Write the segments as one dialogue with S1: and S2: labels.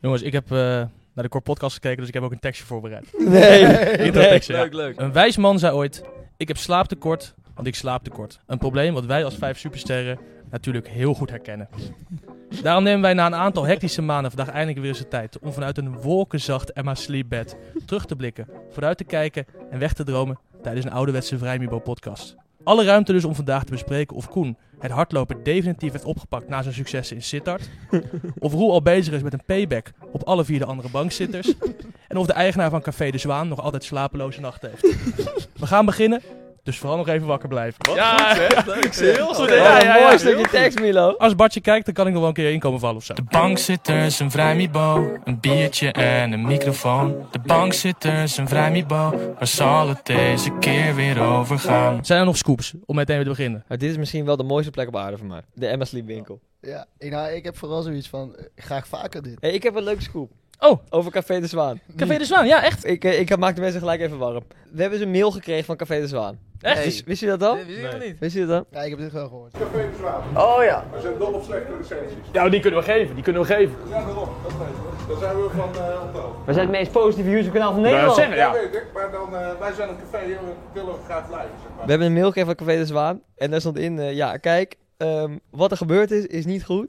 S1: Jongens, ik heb eh, naar de Core Podcast gekeken, dus ik heb ook een tekstje voorbereid.
S2: Nee.
S1: Intro tekstje, ja.
S3: Leuk, leuk.
S1: Een wijs man zei ooit: Ik heb slaaptekort, want ik slaap tekort. Een probleem wat wij als vijf supersterren natuurlijk heel goed herkennen. Daarom nemen wij na een aantal hectische maanden vandaag eindelijk weer eens de tijd om vanuit een wolkenzacht Emma Sleepbed terug te blikken, vooruit te kijken en weg te dromen tijdens een ouderwetse Vrijmibo podcast. Alle ruimte dus om vandaag te bespreken of Koen het hardlopen definitief heeft opgepakt na zijn successen in Sittard. Of Roel al bezig is met een payback op alle vier de andere bankzitters. En of de eigenaar van Café de Zwaan nog altijd slapeloze nachten heeft. We gaan beginnen, dus vooral nog even wakker blijven.
S3: Wat
S1: Ja.
S3: goed zeg. Leuk zeg.
S1: Heel goed,
S3: Oh,
S1: hè?
S3: ja.
S1: Ja,
S2: Wat
S1: ja,
S2: een mooi
S1: ja.
S2: stukje tekst, Milo.
S1: Als Bartje kijkt, dan kan ik nog wel een keer inkomen vallen of zo.
S4: De bankzitters, een vrijmibo, een biertje en een microfoon. De bankzitters, een vrijmibo, waar zal het deze keer weer over gaan?
S1: Zijn er nog scoops om meteen weer te beginnen?
S2: Maar dit is misschien wel de mooiste plek op aarde voor mij. De Emma Sleep winkel.
S5: Ja, ik, nou, ik heb vooral zoiets van, eh, graag vaker dit.
S2: Hey, ik heb een leuke scoop.
S1: Oh.
S2: Over Café de Zwaan.
S1: Café de Zwaan, ja, echt.
S2: Ik, eh, ik maak de mensen gelijk even warm. We hebben dus een mail gekregen van Café de Zwaan.
S1: Echt?
S2: Wist- Wist je dat dan?
S3: Nee, wist ik nog niet.
S2: Wist je dat dan?
S5: Ja, ik heb dit wel gehoord.
S2: Oh ja.
S6: Er zijn nog of slechte recensies.
S1: Nou, die kunnen we geven, die kunnen we geven.
S6: Ja, daarom. Dat weten we. Daar zijn we van eh op de hoogte.
S2: We zijn het meest positieve YouTube-kanaal van
S1: Dat
S2: Nederland.
S1: zeggen,
S6: Dat
S1: ja.
S6: weet ik, maar dan, eh, wij zijn een café en we willen graag blijven. Zeg maar.
S2: We hebben een mail gekregen van Café de Zwaan. En daar stond in, eh, ja, kijk, ehm, wat er gebeurd is, is niet goed.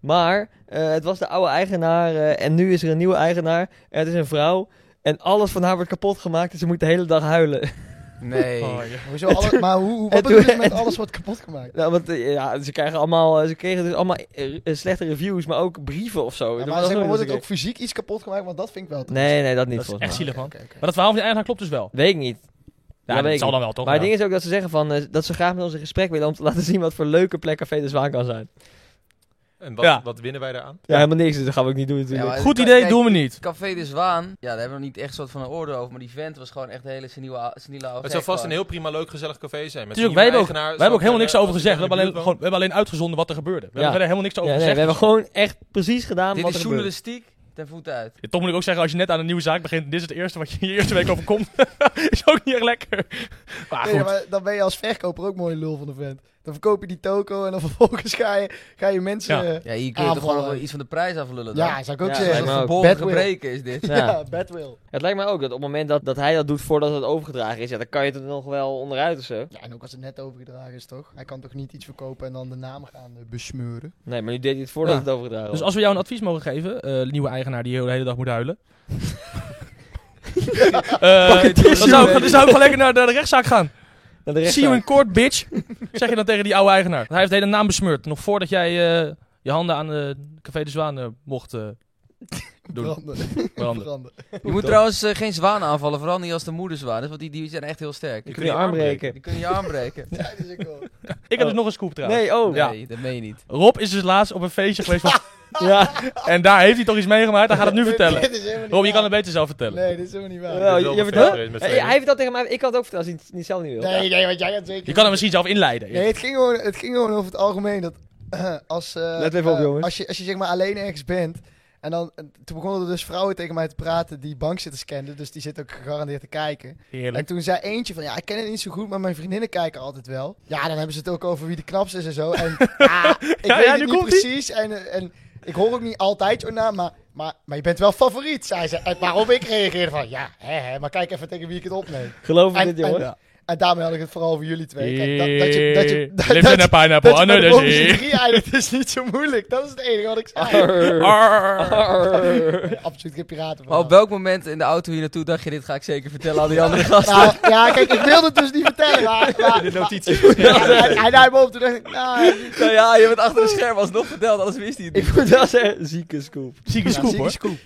S2: Maar eh, het was de oude eigenaar eh, en nu is er een nieuwe eigenaar. En het is een vrouw. En alles van haar wordt kapot gemaakt en ze moet de hele dag huilen.
S3: Nee.
S1: Oh, ja.
S5: Hoezo alle- maar hoe, hoe-
S2: en
S5: wat
S2: toen-
S5: bedoel je met
S2: en
S5: alles wordt kapot gemaakt?
S2: Nou, want eh, ja, ze, krijgen allemaal, eh, ze kregen dus allemaal eh, eh, slechte reviews, maar ook brieven of zo.
S5: Ja,
S2: Dat
S5: maar
S2: was
S5: zeg maar,
S2: ook
S5: wordt
S2: nog
S5: het ook
S2: eens
S5: fysiek iets kapot gemaakt? Want dat vind ik wel...
S2: een keer. Nee, nee, dat niet
S1: Dat is
S2: volgens
S1: echt
S2: mij.
S1: zielig, man.
S5: Oké, oké.
S1: Maar dat verhaal van die eigenaar klopt dus wel.
S2: Weet ik niet.
S1: Ja, dat
S2: weet ik
S1: zal
S2: niet.
S1: dan wel, toch?
S2: maar het
S1: Ja.
S2: ding is ook dat ze zeggen van, eh, dat ze graag met ons in gesprek willen om te laten zien wat voor leuke plek Café de Zwaan kan zijn.
S7: En wat,
S1: Ja.
S7: wat winnen wij daaraan?
S2: Ja, helemaal niks, dus dat gaan we ook niet doen
S3: Ja,
S2: natuurlijk.
S3: maar
S1: Goed
S3: kijk,
S1: idee,
S3: kijk,
S1: doen we niet.
S3: Café de Zwaan, ja, daar hebben we nog niet echt soort van een oordeel over, maar die vent was gewoon echt een hele seniele seniele oude
S7: Het zou
S3: gek
S7: vast
S3: gewoon.
S7: een heel prima, leuk, gezellig café zijn. Met
S1: Tuurlijk, wij hebben ook, wij hebben ook helemaal niks over gezegd. We hebben, alleen, gewoon, we hebben alleen uitgezonden wat er gebeurde. We
S2: Ja.
S1: hebben verder helemaal niks over
S2: Ja, nee,
S1: gezegd.
S2: we hebben gewoon echt precies gedaan
S3: Dit
S2: wat
S3: is
S2: er gebeurde.
S3: journalistiek ten voeten uit.
S1: Ja, Toch moet ik ook zeggen, als je net aan een nieuwe zaak begint, dit is het eerste wat je in je eerste week overkomt. is ook niet echt lekker. Maar
S2: Ah,
S5: Nee,
S1: goed.
S5: maar dan ben je als verkoper ook mooi lul van de vent. Dan verkoop je die toko en dan vervolgens ga je, ga je mensen...
S1: Ja.
S5: eh,
S3: Ja, hier kun je toch
S5: Aanvallen.
S3: gewoon nog wel iets van de prijs aflullen dan.
S5: Ja, zou ik ook
S2: Ja,
S5: zeggen.
S3: Lijkt
S2: lijkt me
S3: me
S2: ook.
S3: geboren
S5: Bad will.
S3: gebreken is dit.
S2: Ja.
S5: Ja, badwill.
S2: Het lijkt mij ook dat op het moment dat, dat hij dat doet voordat het overgedragen is, ja, dan kan je het er nog wel onderuit of zo.
S5: Ja, en ook als het net overgedragen is, toch? Hij kan toch niet iets verkopen en dan de naam gaan eh, besmeuren?
S2: Nee, maar nu deed hij het voordat
S1: Ja.
S2: het overgedragen
S5: Oh.
S2: was.
S1: Dus als we jou een advies mogen geven, eh, nieuwe eigenaar die de hele dag moet huilen. Eh, dan, zou ik, dan zou ik gewoon lekker naar de, naar de rechtszaak gaan.
S2: Naar de
S1: See you in
S2: rechtszaak.
S1: court, bitch. Zeg je dan tegen die oude eigenaar. Want Hij heeft de hele naam besmeurd. Nog voordat jij eh, je handen aan eh Café de Zwaan eh, mocht eh, doen.
S5: Branden.
S1: Branden.
S5: Branden.
S3: Je moet trouwens eh, geen zwaan aanvallen, vooral niet als de moeder zwaan is, want die, die zijn echt heel sterk.
S2: Je kunt je arm breken.
S3: Die kunnen je aanbreken.
S5: Ja, dat is ook wel.
S1: Ik heb dus nog een scoop trouwens.
S2: Nee, oh.
S1: Ja.
S3: Nee, dat meen je niet.
S1: Rob is dus laatst op een feestje geweest. van-
S2: Ja.
S1: en daar heeft hij toch iets meegemaakt. Hij gaat het nu vertellen.
S5: Dit is helemaal niet
S1: Rob, je kan het
S5: waar.
S1: beter zelf vertellen.
S5: Nee, dit is helemaal niet waar.
S2: Ja,
S7: wel
S2: je-
S7: een
S2: je
S7: feest
S2: vertelt-
S7: geweest met
S2: Hey,
S7: tweeën.
S2: hij vertelt tegen mij, ik kan het ook vertellen als hij het niet, zelf niet wil.
S5: Nee, nee, want jij gaat zeker...
S1: Je kan hem misschien zelf inleiden.
S5: Nee, het ging gewoon, het ging gewoon over het algemeen dat als, eh,
S2: Let even op,
S5: eh,
S2: jongens.
S5: als je, als je zeg maar alleen ergens bent en dan, en toen begonnen er dus vrouwen tegen mij te praten die bankzitters kenden, dus die zitten ook gegarandeerd te kijken.
S1: Heerlijk.
S5: En toen zei eentje van, ja, ik ken het niet zo goed, maar mijn vriendinnen kijken altijd wel. Ja, dan hebben ze het ook over wie de knapste is en zo. En ah, ik
S1: Ja,
S5: weet
S1: ja,
S5: het
S1: nu
S5: niet
S1: komt-ie.
S5: precies en, eh, en ik hoor ook niet altijd jouw naam, maar, maar, maar je bent wel favoriet, zei ze. En waarop ik reageerde van, ja, hè, hè, maar kijk even tegen wie ik het opneem.
S2: Geloof me
S5: En-
S2: dit, jongen.
S5: en- En daarmee had ik het vooral over jullie twee. Kijk, dat, dat je, dat je, dat,
S1: Lips
S5: dat
S1: in
S5: je-
S1: een pineapple.
S5: dat
S1: Oh,
S5: je bij
S1: nee,
S5: de
S1: dat
S5: bovenste
S1: is
S5: drie eindigt is niet zo moeilijk. Dat is het enige wat ik zei.
S2: Arr.
S1: Arr.
S2: Arr.
S5: Nee, Absoluut geen piraten.
S3: Maar op welk moment in de auto hier naartoe dacht je, dit ga ik zeker vertellen aan die andere gasten?
S5: nou, ja, kijk, ik wilde het dus niet vertellen, maar... maar de notities. hij hij duimde op, toen dacht ik, nou...
S3: Nou ja, je bent achter de scherm alsnog verteld, anders wist hij het niet.
S2: Ik moet wel zeggen, zieke scoop.
S1: Zieke scoop, hoor.
S5: scoop.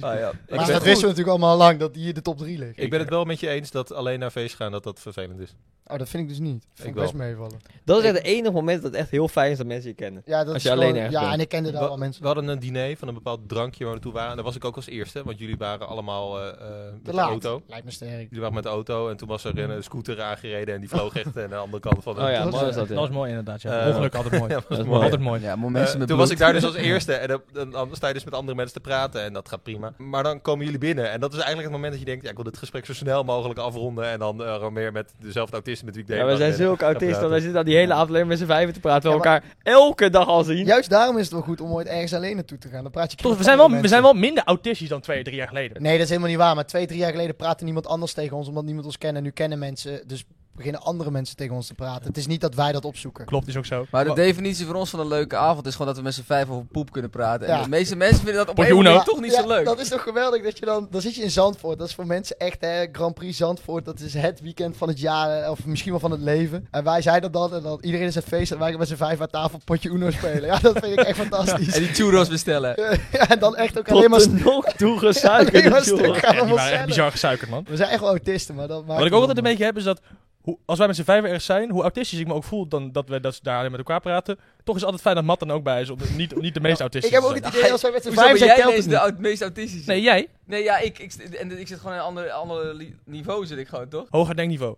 S3: Ah, ja.
S7: ben
S5: Maar dat wisten we natuurlijk allemaal al lang, dat hier de top 3 ligt.
S7: Ik ben het wel met je eens dat alleen naar feest gaan, dat dat vervelend is.
S5: Oh, dat vind ik dus niet. Dat vind ik
S7: wel.
S5: best meevallen.
S2: Dat is echt het enige moment dat het echt heel fijn is dat mensen je kennen.
S5: Ja, dat
S2: Als
S5: is
S2: je alleen
S5: gewoon-
S2: ergens
S5: Ja,
S2: bent.
S5: en ik kende daar
S7: Wa-
S5: wel mensen.
S7: We hadden een diner van een bepaald drankje waar we naartoe waren. En daar was ik ook als eerste, want jullie waren allemaal eh, eh, met
S5: Te
S7: de
S5: laat.
S7: auto.
S5: Lijkt me sterk.
S7: Jullie waren met de auto en toen was er een eh, scooter aangereden en die vloog echt aan de andere kant van de...
S2: Oh ja,
S5: dat
S2: mooi
S5: is-
S2: is dat,
S1: Dat was
S2: ja.
S1: mooi inderdaad, ja.
S7: ja.
S1: Ongeluk, altijd mooi.
S7: dat was
S2: Dat is
S7: mooi.
S2: mooi.
S1: Altijd mooi.
S3: Ja, maar mensen
S7: Eh,
S3: met
S7: toen was
S3: bloed.
S7: ik daar dus als eerste en dan, dan, dan sta je dus met andere mensen te praten en dat gaat prima. Maar dan komen jullie binnen en dat is eigenlijk het moment dat je denkt, ja, ik wil dit gesprek zo snel mogelijk afronden en dan eh, gewoon meer met dezelfde autisten met wie ik deed.
S2: Ja, wij zijn
S7: zo
S2: zulke autisten, want wij zitten aan die hele
S7: Ja.
S2: avond alleen met z'n vijven te praten. We
S5: Ja, maar-
S2: elkaar elke dag al zien.
S5: Juist daarom is het wel goed om ooit ergens alleen naartoe te gaan. Dan praat je
S1: Toch,
S5: met
S1: we, zijn wel,
S5: andere
S1: we
S5: mensen.
S1: zijn wel minder autistisch dan twee, drie jaar geleden.
S5: Nee, dat is helemaal niet waar. Maar twee, drie jaar geleden praatte niemand anders tegen ons, omdat niemand ons kende. Nu kennen mensen, dus beginnen andere mensen tegen ons te praten. Het is niet dat wij dat opzoeken.
S1: Klopt, is ook zo.
S3: Maar de definitie voor ons van een leuke avond is gewoon dat we met z'n vijf over poep kunnen praten. En
S5: Ja.
S3: de meeste mensen vinden dat op een
S1: Potje
S3: manier
S1: Uno.
S3: toch niet
S5: Ja,
S3: zo leuk.
S5: Dat is toch geweldig dat je dan... Dan zit je in Zandvoort. Dat is voor mensen echt, hè, Grand Prix Zandvoort. Dat is het weekend van het jaar, eh, of misschien wel van het leven. En wij zijn dat dan. En dan iedereen is een feest en wij gaan met z'n vijf aan tafel potje Uno spelen. Ja, dat vind ik echt fantastisch.
S3: En die churros bestellen.
S5: Ja, en dan echt ook
S2: Tot
S5: alleen maar...
S2: de nog toegesuikerde
S5: alleen maar
S2: jongen.
S5: stuk.
S1: Ja, die
S5: allemaal
S1: waren echt
S5: zelf.
S1: bizar gesuikerd, man.
S5: We zijn echt wel autisten, maar dat
S1: Wat
S5: maakt
S1: ik
S5: het
S1: ook altijd een
S5: wel.
S1: beetje heb is dat, hoe, als wij met z'n vijven ergens zijn, hoe autistisch ik me ook voel, dan dat we dat ze daar alleen met elkaar praten, toch is het altijd fijn dat Matt dan ook bij is, om niet, niet de meest
S5: Ik
S1: autistisch
S5: heb
S1: te
S5: ook
S1: zijn.
S5: het idee als wij met z'n
S3: Hoezo ben
S5: vijf zijn,
S3: jij
S5: telt het
S3: ineens de
S5: niet.
S3: au- meest autistische?
S1: Nee, jij?
S3: Nee, ja, ik, ik, en ik zit gewoon in een ander, ander li- niveau, zit ik gewoon, toch?
S1: Hoger denkniveau.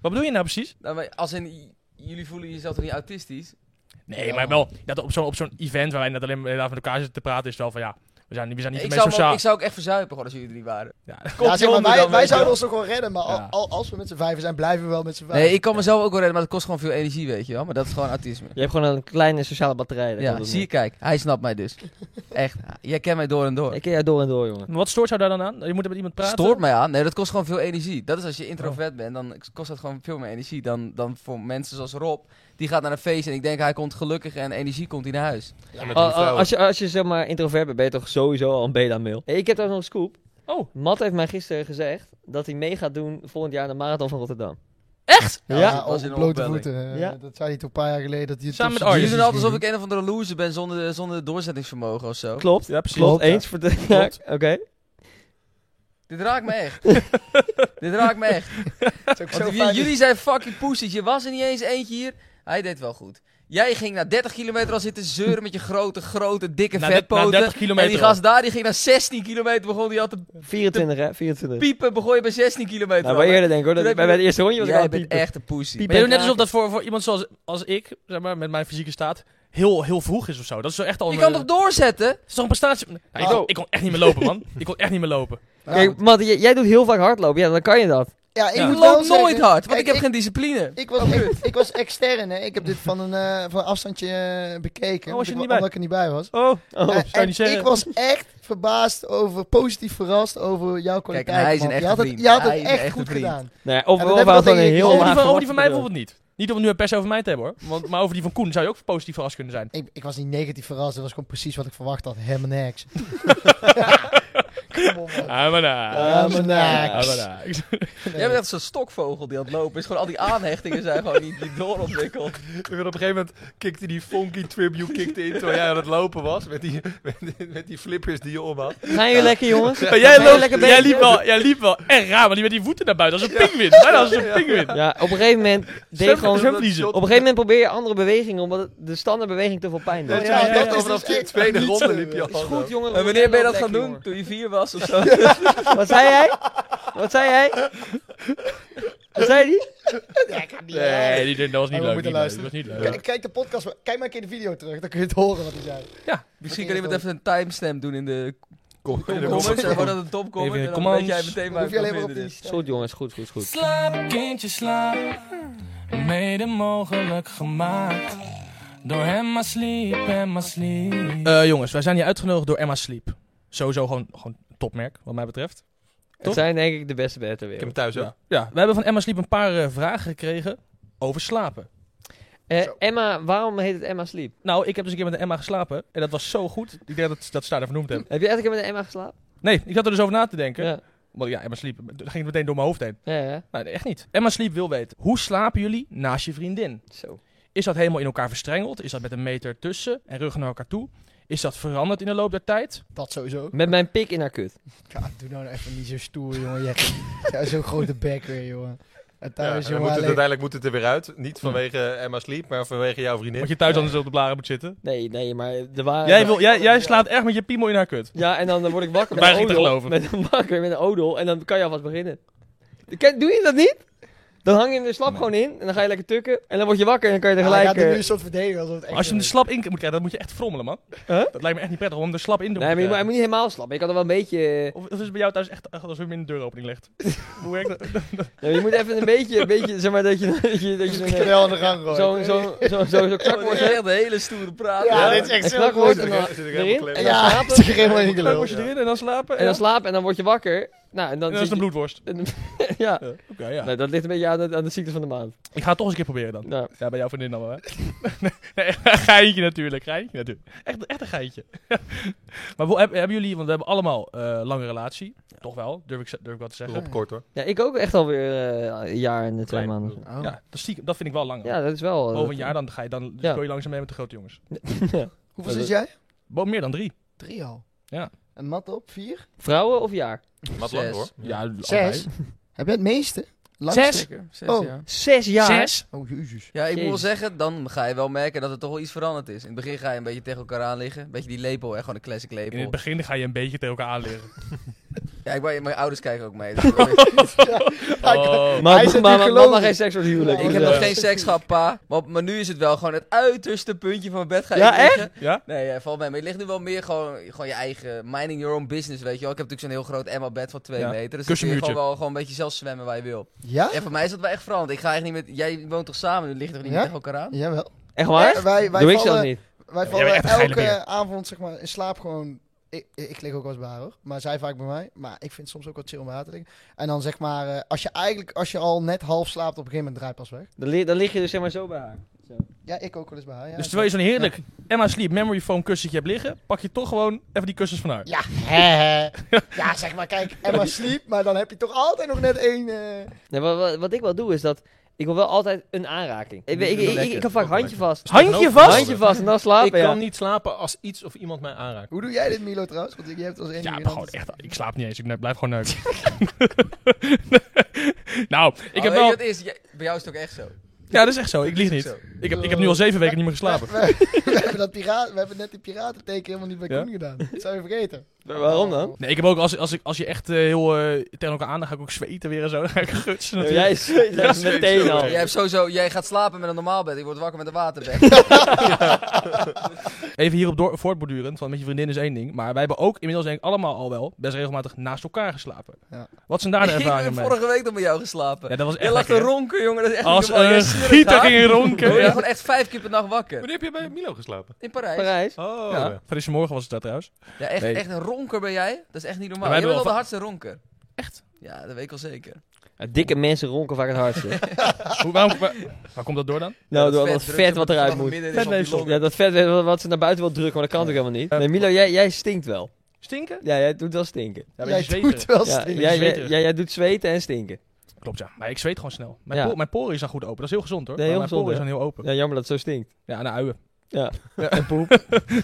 S1: Wat bedoel je nou precies?
S3: Nou, maar als in, j- jullie voelen jezelf toch niet autistisch?
S1: Nee, maar wel, dat op zo'n op zo'n event waar wij net alleen maar met elkaar zitten te praten, is het wel van ja, we zijn, we zijn niet
S3: ik,
S1: de
S3: zou
S1: meest
S3: me-
S1: sociaal.
S3: ik zou ook echt verzuipen gewoon als jullie er niet waren.
S1: Ja,
S5: Ja, zeg maar,
S1: onder
S5: wij,
S1: dan,
S5: wij
S1: weet je
S5: zouden
S1: wel.
S5: ons toch wel redden, maar al-
S1: Ja.
S5: al- als we met z'n vijven zijn, blijven we wel met z'n vijven.
S3: Nee, ik kan mezelf ook wel redden, maar dat kost gewoon veel energie, weet je wel. Maar dat is gewoon autisme.
S2: Je hebt gewoon een kleine sociale batterij. daar
S3: Ja,
S2: komt het
S3: zie je,
S2: op.
S3: kijk, hij snapt mij dus. Echt, jij kent mij door en door.
S2: Ik ken jou door en door, jongen.
S1: Maar Wat stoort jou daar dan aan? Je moet met iemand praten?
S3: Stoort mij aan. Nee, dat kost gewoon veel energie. Dat is als je
S2: Oh.
S3: introvert bent, dan kost dat gewoon veel meer energie dan, dan voor mensen zoals Rob. Die gaat naar een feest en ik denk hij komt gelukkig en energie komt hij naar huis.
S7: Ja, met
S2: Al-
S7: die
S2: al-
S7: vrouwen.
S2: Oh, Ah, als, je, als je zeg maar introvert bent, ben je toch sowieso al een beta-mail. Hey, ik heb daar nog een scoop.
S1: Oh.
S2: Matt heeft mij gisteren gezegd dat hij mee gaat doen volgend jaar aan de Marathon van Rotterdam.
S3: Echt?
S5: Ja,
S3: dat
S5: op
S3: was in een
S5: blote
S3: opbelling.
S5: voeten. eh,
S2: Ja.
S5: Dat zei hij toen een paar jaar geleden. Dat hij
S1: Samen met
S5: tussen-
S1: Arjen.
S3: Jullie doen altijd alsof ik een of andere loser ben zonder, zonder doorzettingsvermogen of zo.
S2: Klopt.
S1: Ja, precies.
S2: Klopt,
S5: Klopt,
S2: eens. voor de- Ja,
S1: Klopt.
S2: Oké.
S3: Dit raakt me echt. Dit raakt me echt.
S5: Het is ook zo
S3: Want j-
S5: fijn.
S3: jullie zijn fucking poesies. Je was er niet eens eentje hier. Hij deed wel goed. Jij ging na 30 kilometer al zitten zeuren met je grote, grote, dikke
S1: Na de- na
S3: vetpoten.
S1: 30 kilometer
S3: en die
S1: al.
S3: gast daar, die ging na 16 kilometer begon. Die had te
S2: 24, hè? 24.
S3: piepen, begon je bij 16 kilometer.
S2: Nou,
S3: al,
S2: bij
S3: hè?
S2: eerder denk ik hoor. Dat,
S3: Toen heb
S2: bij
S3: je-
S2: bij het eerste rondje was ik al
S3: Jij
S2: aan het
S3: bent
S2: piepen.
S3: echt een poesie.
S2: Piep.
S1: Maar je doet net
S2: Kraken.
S1: alsof dat voor, voor iemand zoals als ik, zeg maar, met mijn fysieke staat, heel, heel vroeg is of zo. Dat is zo echt al
S3: Je
S1: een-
S3: kan toch doorzetten?
S1: Het is toch een prestatie? Ja, ik,
S5: Oh.
S1: ik kon echt niet meer lopen, man. ik kon echt niet meer lopen.
S5: Ja,
S2: Kijk, Matt, jij, jij doet heel vaak hardlopen. Ja, dan kan je dat.
S5: ja, ik
S1: Ja.
S5: moet
S3: Ik
S5: wel
S3: loop
S5: zeggen,
S3: nooit hard, want
S5: kijk,
S3: ik heb geen discipline.
S5: Ik was, ik, ik was extern, hè. Ik heb dit van een, eh, van een afstandje eh, bekeken.
S1: Oh, was je er
S5: omdat ik-
S1: niet bij?
S5: Omdat ik er niet bij was.
S1: Oh,
S2: Oh,
S5: Eh,
S1: zou je
S5: en
S1: niet zeggen.
S5: ik was echt verbaasd over, positief verrast over jouw
S3: Kijk,
S5: kwaliteit.
S3: hij is een
S5: man.
S3: echte
S5: je had het,
S3: vriend.
S5: je had het
S3: Hij is een
S5: echt
S3: echte
S5: goed
S3: vriend.
S5: gedaan.
S2: Nee, of
S5: dat
S2: of
S5: heb
S2: we
S5: ik
S2: hadden
S5: denk
S2: een
S5: ik-
S2: heel
S5: over
S1: over, die
S2: laag
S1: van, over die van mij
S2: verwachting.
S1: bijvoorbeeld niet. Niet om het nu per se over mij te hebben, hoor. Want, maar over die van Koen zou je ook positief verrast kunnen zijn.
S5: Ik, ik was niet negatief verrast. Dat was gewoon precies wat ik verwacht had. Helemaal niks. Kom op, man.
S1: Ah, maar daar.
S5: Helemaal
S1: Ah, maar
S5: niks.
S1: daar. Ik-
S3: Jij bent echt zo'n stokvogel die aan het lopen is. Gewoon al die aanhechtingen zijn gewoon niet, niet doorontwikkeld.
S7: Ik bedoel, op een gegeven moment kikte die funky tribute kikte in terwijl jij aan het lopen was. Met die, met, met die flippers die je om had.
S2: Gaan jullie lekker, jongens?
S1: Maar jij,
S2: Gaan jullie
S1: loopt-
S2: lekker
S1: jij,
S2: bezig?
S1: liep wel, jij liep wel echt raar, maar die met die voeten naar buiten. Als een pinguïn. Bijna als een pinguïn.
S2: Ja, op een gegeven moment deed
S1: Zwem-
S2: gewoon... Op
S1: zwemvliezen.
S2: een gegeven moment probeer je andere bewegingen, omdat het- de standaardbeweging te veel pijn doet.
S7: Ja,
S5: ja, ja,
S7: dat
S5: ja.
S7: is vanaf
S5: Dus
S7: de
S5: echt
S7: tweede
S5: niet
S7: ronde
S5: zo,
S7: liep je
S5: joh.
S7: al.
S2: Is goed, jongen.
S3: En wanneer ben je dat
S2: Lekker,
S3: gaan doen?
S2: jongen.
S3: Toen je vier was of zo?
S2: Wat zei jij? Wat zei jij? Wat zei die?
S1: Nee, die, dat was niet
S5: we
S1: leuk.
S5: moeten
S1: niet leuk,
S5: luisteren.
S1: Dat was niet leuk.
S5: Kijk- Kijk de podcast. Kijk maar een keer de video terug. Dan kun je het horen wat hij zei.
S3: Misschien kan iemand even een timestamp doen in de
S7: Kom,
S3: comments. En wordt dat een topcomment.
S1: Even in de
S3: En dan weet
S1: commands.
S3: jij meteen
S5: Dan
S3: waar
S5: hoef
S3: ik
S5: je
S3: kan
S5: alleen maar
S3: vinden.
S5: op die...
S3: dit.
S5: stem-
S2: Goed jongens, goed, goed, goed.
S4: Slaap, kindje, slaap. Mede mogelijk gemaakt. Door Emma Sleep, Emma Sleep.
S1: Eh, jongens, wij zijn hier uitgenodigd door Emma Sleep. Sowieso gewoon, gewoon een topmerk, wat mij betreft.
S2: Het zijn denk ik de beste bedden ter
S7: Ik heb
S2: wereld.
S7: hem thuis ook.
S1: Ja. ja, we hebben van Emma Sleep een paar eh, vragen gekregen over slapen.
S2: Eh, Emma, waarom heet het Emma Sleep?
S1: Nou, ik heb dus een keer met een Emma geslapen. En dat was zo goed. Ik denk dat, dat ze daar vernoemd hebben.
S2: Heb je echt een keer met een Emma geslapen?
S1: Nee, ik zat er dus over na te denken.
S2: Ja.
S1: Want ja, Emma Sleep. Dat ging het meteen door mijn hoofd heen.
S2: Ja, ja.
S1: Nou, echt niet. Emma Sleep wil weten. Hoe slapen jullie naast je vriendin?
S2: Zo.
S1: Is dat helemaal in elkaar verstrengeld? Is dat met een meter tussen en rug naar elkaar toe? Is dat veranderd in de loop der tijd?
S5: Dat sowieso.
S2: Met mijn pik in haar kut.
S5: Ja, doe nou even niet zo stoer, jongen. Jij ja, zo'n grote bek weer, jongen. En
S7: Ja, en
S5: thuis,
S7: dan moet
S5: jongen,
S7: het,
S5: alleen-
S7: uiteindelijk moet het er weer uit. Niet vanwege eh, Emma Sleep, maar vanwege jouw vriendin.
S1: Want je thuis anders op de blaren moet zitten.
S2: Nee, nee, maar de waarheid...
S1: Jij, wil, jij, jij slaapt echt met je piemel in haar kut.
S2: Ja, en dan eh, word ik wakker met
S1: Weiger
S2: een
S1: ik te
S2: odel.
S1: geloven.
S2: Met een wakker met een odel en dan kan je alvast beginnen. Ken- Doe je dat niet? Dan hang je hem er slap gewoon in en dan ga je lekker tukken. En dan word je wakker en
S1: Ah,
S2: dan kan je
S5: Ja, hij
S2: tegelijk...
S5: gaat er nu
S2: eh,
S5: een soort verdedigen alsof het echt
S1: Maar als je hem
S5: zo
S1: er
S5: is.
S1: slap in moet krijgen, dan moet je echt frommelen, man.
S2: Huh?
S1: Dat lijkt me echt niet prettig om hem er slap in te
S2: Nee, maar je
S1: moeten
S2: moet, hij moet niet helemaal slap. maar Je kan er wel een beetje... eh,
S1: krijgen. Of, of is het bij jou thuis echt als je hem in de deuropening legt? Hoe werkt dat?
S2: ja, je moet even een beetje, een beetje, zeg maar, dat je... Dat je, dat je zo'n,
S5: Ik heb
S2: eh,
S5: wel aan de gang gooien.
S2: Zo'n zo, zo, zo, zo knak wordt, hè?
S3: Oh, echt een hele stoere praat.
S5: Ja,
S3: hoor.
S5: dit is echt
S2: En
S5: zo
S2: knak
S5: goed.
S2: wordt en
S5: Ja,
S2: dan
S7: zit ik
S2: erin.
S7: helemaal
S2: En
S7: klem.
S2: dan
S5: Ja,
S2: slapen.
S5: het is er helemaal in de
S1: Dan
S5: lul.
S1: moet je erin en dan slapen.
S2: En dan
S1: ja.
S2: slapen en dan word je wakker. Nou, en dan,
S1: En dan is het
S2: zit
S1: een bloedworst.
S2: je- Ja,
S1: Oké, ja.
S2: Nee, dat ligt een beetje aan de, aan de ziekte van de maand.
S1: Ik ga het toch eens een keer proberen dan.
S2: Nou.
S1: Ja, bij jouw vriendin dan wel, hè? nee, geintje natuurlijk, geintje natuurlijk. Echt, echt een geintje. maar hoe- heb- hebben jullie, want we hebben allemaal eh lange relatie. Toch wel, durf ik, ze- durf ik wel te zeggen.
S7: Rob kort hoor.
S2: Ja, ik ook echt alweer eh een jaar en eh, twee
S1: Klein.
S2: maanden.
S3: Oh.
S1: Ja, dat, stiekem, dat vind ik wel langer.
S2: Ja, dat is wel... eh,
S1: Over een jaar dan ga je dan dus
S2: Ja.
S1: gooi je langzaam mee met de grote jongens.
S5: Hoeveel zit jij?
S1: Bo meer dan drie.
S5: Drie al.
S1: Ja.
S5: En mat op, vier?
S2: Vrouwen of jaar?
S7: Wat lang hoor.
S1: Ja,
S5: Zes. Heb jij het meeste?
S3: Zes?
S5: Langste?
S3: Zeker, zes,
S5: Oh.
S3: ja.
S2: Zes jaar?
S1: Zes?
S5: Oh, jezus.
S3: Ja, ik moet wel
S2: Jezus.
S3: zeggen, dan ga je wel merken dat er toch wel iets veranderd is. In het begin ga je een beetje tegen elkaar aan liggen. Een beetje die lepel, echt gewoon een classic
S1: In het
S3: lepel.
S1: begin ga je een beetje tegen elkaar aanleren.
S3: Ja, ik, wou- mijn ouders kijken ook mee. dus ik heb
S1: Oh.
S2: Maar
S5: Hij zit
S2: maar,
S5: niet
S2: maar,
S5: gelogen.
S2: maar geen seks voor het huwelijk.
S5: Ik
S3: nog
S2: Dus, eh,
S3: geen seks gehad, pa. Maar, maar nu is het wel gewoon het uiterste puntje van mijn bed gaan
S2: Ja,
S3: liggen.
S1: Ja?
S3: Nee, ja, valt mee. Maar het ligt nu wel meer gewoon, gewoon je eigen minding your own business, weet je wel. Ik heb natuurlijk zo'n heel groot Emma-bed van twee
S1: Ja.
S3: meter. Dus dan kun je
S1: Kussenmuurtje.
S3: gewoon wel gewoon een beetje zelf zwemmen waar je wil.
S5: Ja?
S3: En voor mij is dat wel echt veranderd. Ik ga echt niet met... Jij woont toch samen? Nu ligt toch niet
S5: Ja?
S3: meer tegen elkaar aan?
S5: Jawel.
S2: Echt waar?
S5: Eh, Wij, wij
S2: Doe ik
S5: vallen,
S2: zelf niet.
S5: Wij
S1: Ja,
S5: vallen
S1: jij bent echt een geile
S5: elke
S1: beer.
S5: avond zeg maar, in slaap gewoon... Ik, ik lig ook wel eens bij haar, hoor. Maar zij vaak bij mij. Maar ik vind het soms ook wat chill om bij haar te liggen. En dan zeg maar, eh, als je eigenlijk, als je al net half slaapt, op een gegeven moment draai je pas weg.
S2: Dan, li- dan lig je dus zeg maar zo bij haar.
S5: Ja, ik ook wel eens bij haar. Ja,
S1: Dus terwijl je zo'n heerlijk Emma Sleep memory foam kussentje hebt liggen, pak je toch gewoon even die kussens van haar.
S5: Ja, hè, hè. ja, zeg maar, kijk, Emma sliep, maar dan heb je toch altijd nog net één... eh,
S2: Nee, wat, wat, wat ik wel doe is dat... Ik wil wel altijd een aanraking. Ik, weet- ik,
S7: is
S2: ik, ik,
S7: lekker.
S2: ik heb vaak
S7: Ook
S2: handje
S7: lekker.
S2: vast.
S1: Handje vast?
S2: Handje vast en dan
S7: Ik
S2: slapen, ja.
S7: kan niet slapen als iets of iemand mij aanraakt.
S5: Hoe doe jij dit, Milo, trouwens? Want je hebt als enige...
S1: Ja, maar
S5: iemand-
S1: gewoon echt. Ik slaap niet eens. Ik ne- blijf gewoon neuken. nou, ik heb
S3: Oh, weet je
S1: wel...
S3: wat het is? Jij- bij jou is het ook echt zo.
S1: Ja, dat is echt zo. Ik lieg niet.
S3: Zo.
S1: Ik heb, ik heb nu al zeven weken niet meer geslapen.
S5: We, we hebben dat piraat, we hebben net die piratenteken helemaal niet bij
S1: Ja?
S5: Koen gedaan. Dat zou je vergeten.
S2: Waarom dan?
S1: Nee, ik heb ook... Als, als, ik, als je echt eh, heel eh, tegen elkaar aan... dan ga ik ook zweten weer en zo. Dan ga ik gutsen
S2: Ja,
S1: natuurlijk.
S2: jij is jij is
S1: Ja,
S2: meteen al.
S3: Jij, hebt sowieso, jij gaat slapen met een normaal bed. Ik word wakker met een waterbed.
S1: Even hierop door, voortbordurend. Want met je vriendin is één ding. Maar wij hebben ook inmiddels denk ik allemaal al wel... best regelmatig naast elkaar geslapen.
S5: Ja.
S1: Wat zijn daar de
S3: ik
S1: ervaringen
S3: ben
S1: mee?
S3: vorige week nog met jou geslapen.
S1: Ja, dat was
S3: je
S1: echt
S3: lag te
S1: lekker, hè?
S3: ronken, jongen. Dat is echt
S1: Als
S3: niet normaal. Jij
S1: een
S3: snurkt
S1: gieter
S3: daar.
S1: ging
S3: Je
S1: ronken.
S3: werd
S1: Ja.
S3: gewoon echt vijf keer per nacht wakker.
S7: Wanneer heb je bij Milo geslapen?
S3: In Parijs.
S2: Parijs.
S7: Oh.
S1: Ja. Vanmorgen was het daar trouwens.
S3: Ja, echt,
S1: Nee.
S3: echt een ronker ben jij. Dat is echt niet normaal.
S1: Maar wij
S3: Jij bent wel
S1: hebben
S3: de
S1: wel
S3: hardste ronker. Echt? Ja, dat weet ik al zeker.
S2: Ja, Dikke mensen ronken vaak het hardste.
S1: Hoe, waarom, waar, waar komt dat door dan?
S2: Nou, door al dat
S3: dat
S2: vet wat eruit moet.
S1: Vet leefstof.
S2: Ja, dat vet weet wat- wat ze naar buiten wil drukken, maar dat kan natuurlijk helemaal niet. Nee, Milo, jij, jij stinkt wel.
S1: Stinken?
S2: Ja, jij doet wel stinken.
S1: Ja,
S5: jij
S1: weet je zweterig.
S5: doet wel
S2: Ja,
S5: stinken. dus
S2: jij, jij,
S1: zweterig.
S2: jij- jij doet zweten en stinken.
S1: Klopt ja, maar ik zweet gewoon snel. Mijn,
S2: Ja.
S1: po- mijn poren zijn goed open, dat is heel gezond hoor.
S2: Nee, heel
S1: maar
S2: gezond,
S1: mijn poren
S2: hè?
S1: zijn heel open.
S2: Ja, jammer dat het zo stinkt.
S1: Ja, naar uien.
S2: Ja.
S1: En poep.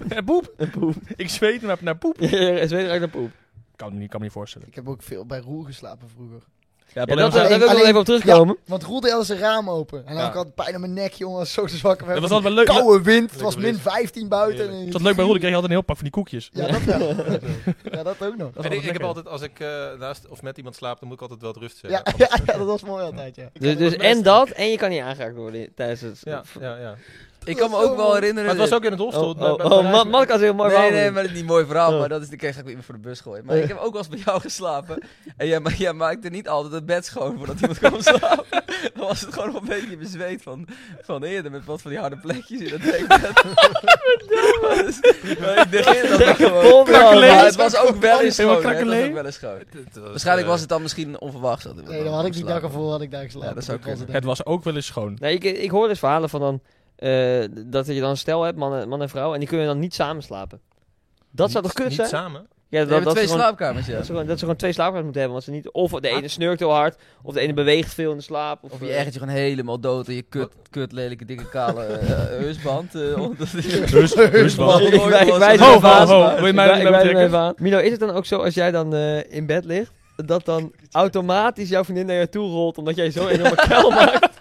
S1: en poep.
S2: En poep.
S1: Ik zweet naar, naar poep.
S2: Ja, ja, zweet ruikt naar poep.
S1: Kan me niet, kan me niet voorstellen.
S5: Ik heb ook veel bij Roel geslapen vroeger.
S1: Ja,
S2: Ja,
S1: dat,
S2: dat,
S1: was,
S2: eh,
S1: dat,
S2: daar wil ik nog
S5: alleen-
S2: even op terugkomen.
S5: Want Roel deed altijd zijn raam open. En dan
S1: Ja.
S5: had ik altijd pijn aan mijn nek, jongen. Als ik zo te zwakker werd.
S1: was altijd wel leuk.
S5: Koude wind. Het
S7: Lekker
S5: was min
S7: beleefd.
S5: 15 buiten.
S7: Heerlijk.
S5: en-
S1: Dat was leuk bij Roel, ik kreeg altijd een heel pak van die koekjes.
S5: Ja, dat wel. ja, dat ook nog.
S1: Dat was
S7: En ik, ik heb
S1: lekker.
S7: altijd, als ik eh, naast of met iemand slaap, dan moet ik altijd wel het rust
S5: Ja,
S7: zeggen.
S5: ja, ja, dat was mooi altijd, ja.
S2: Dus, dus en dat, en je kan niet aangeraakt worden in- tijdens het...
S7: Ja, ja, ja.
S3: Ik kan me ook wel herinneren...
S7: Maar het was ook in het
S2: Oh,
S7: hostel.
S2: oh, oh, Ma- Mark had een heel mooi
S3: nee,
S2: verhaal.
S3: nee, maar dat is niet mooi verhaal,
S2: Oh.
S3: maar dat is de keer ga ik weer iemand voor de bus gooien. Maar ik heb ook wel eens bij jou geslapen. En jij, ma- jij maakte niet altijd het bed schoon voordat iemand kwam slapen. Dan was het gewoon nog een beetje bezweet van, van eerder met wat van die harde plekjes in dat dekbed. Dus- maar ik deed dat ook gewoon.
S2: Vol verhaal.
S3: Maar het was ook wel eens
S1: Helemaal
S3: schoon. hè, Het was
S1: krakelee.
S3: ook wel eens schoon. Waarschijnlijk was het dan misschien onverwacht. dat iemand
S5: Nee, dan
S3: dan
S5: had ik
S3: kwam
S5: die dag
S3: slapen.
S5: ervoor had ik daar geslapen.
S3: Ja, dat zou
S5: was het
S3: kunnen.
S1: Het was ook wel eens schoon.
S2: Nee, ik, ik hoor dus verhalen van dan... eh, dat je dan een stel hebt, man en, man en vrouw, en die kunnen dan niet samen slapen. Dat zou toch kut
S7: eh, Niet
S2: zijn?
S7: samen?
S2: Ja,
S3: We hebben
S2: ze
S3: twee
S2: gewoon-
S3: slaapkamers, ja.
S2: Dat ze, gewoon, dat ze gewoon twee slaapkamers moeten hebben. Want ze niet, of de ene snurkt heel hard, of de ene beweegt veel in de slaap. Of,
S3: Of je
S2: eh,
S3: ergert je gewoon helemaal dood en je kut, kut lelijke, dikke, kale eh, heusband. eh, omdat-
S1: Dus, dus wel.
S2: Ik wij-
S3: Ho,
S2: ik wijs
S1: ho,
S2: hem even aan.
S1: ho, wil je mij
S2: Ik
S1: niet bij
S2: wij- ik wijs hem
S1: betrekken?
S2: even aan. Milo, is het dan ook zo als jij dan eh, in bed ligt, dat dan automatisch jouw vriendin naar je toe rolt omdat jij zo enorme kuil maakt?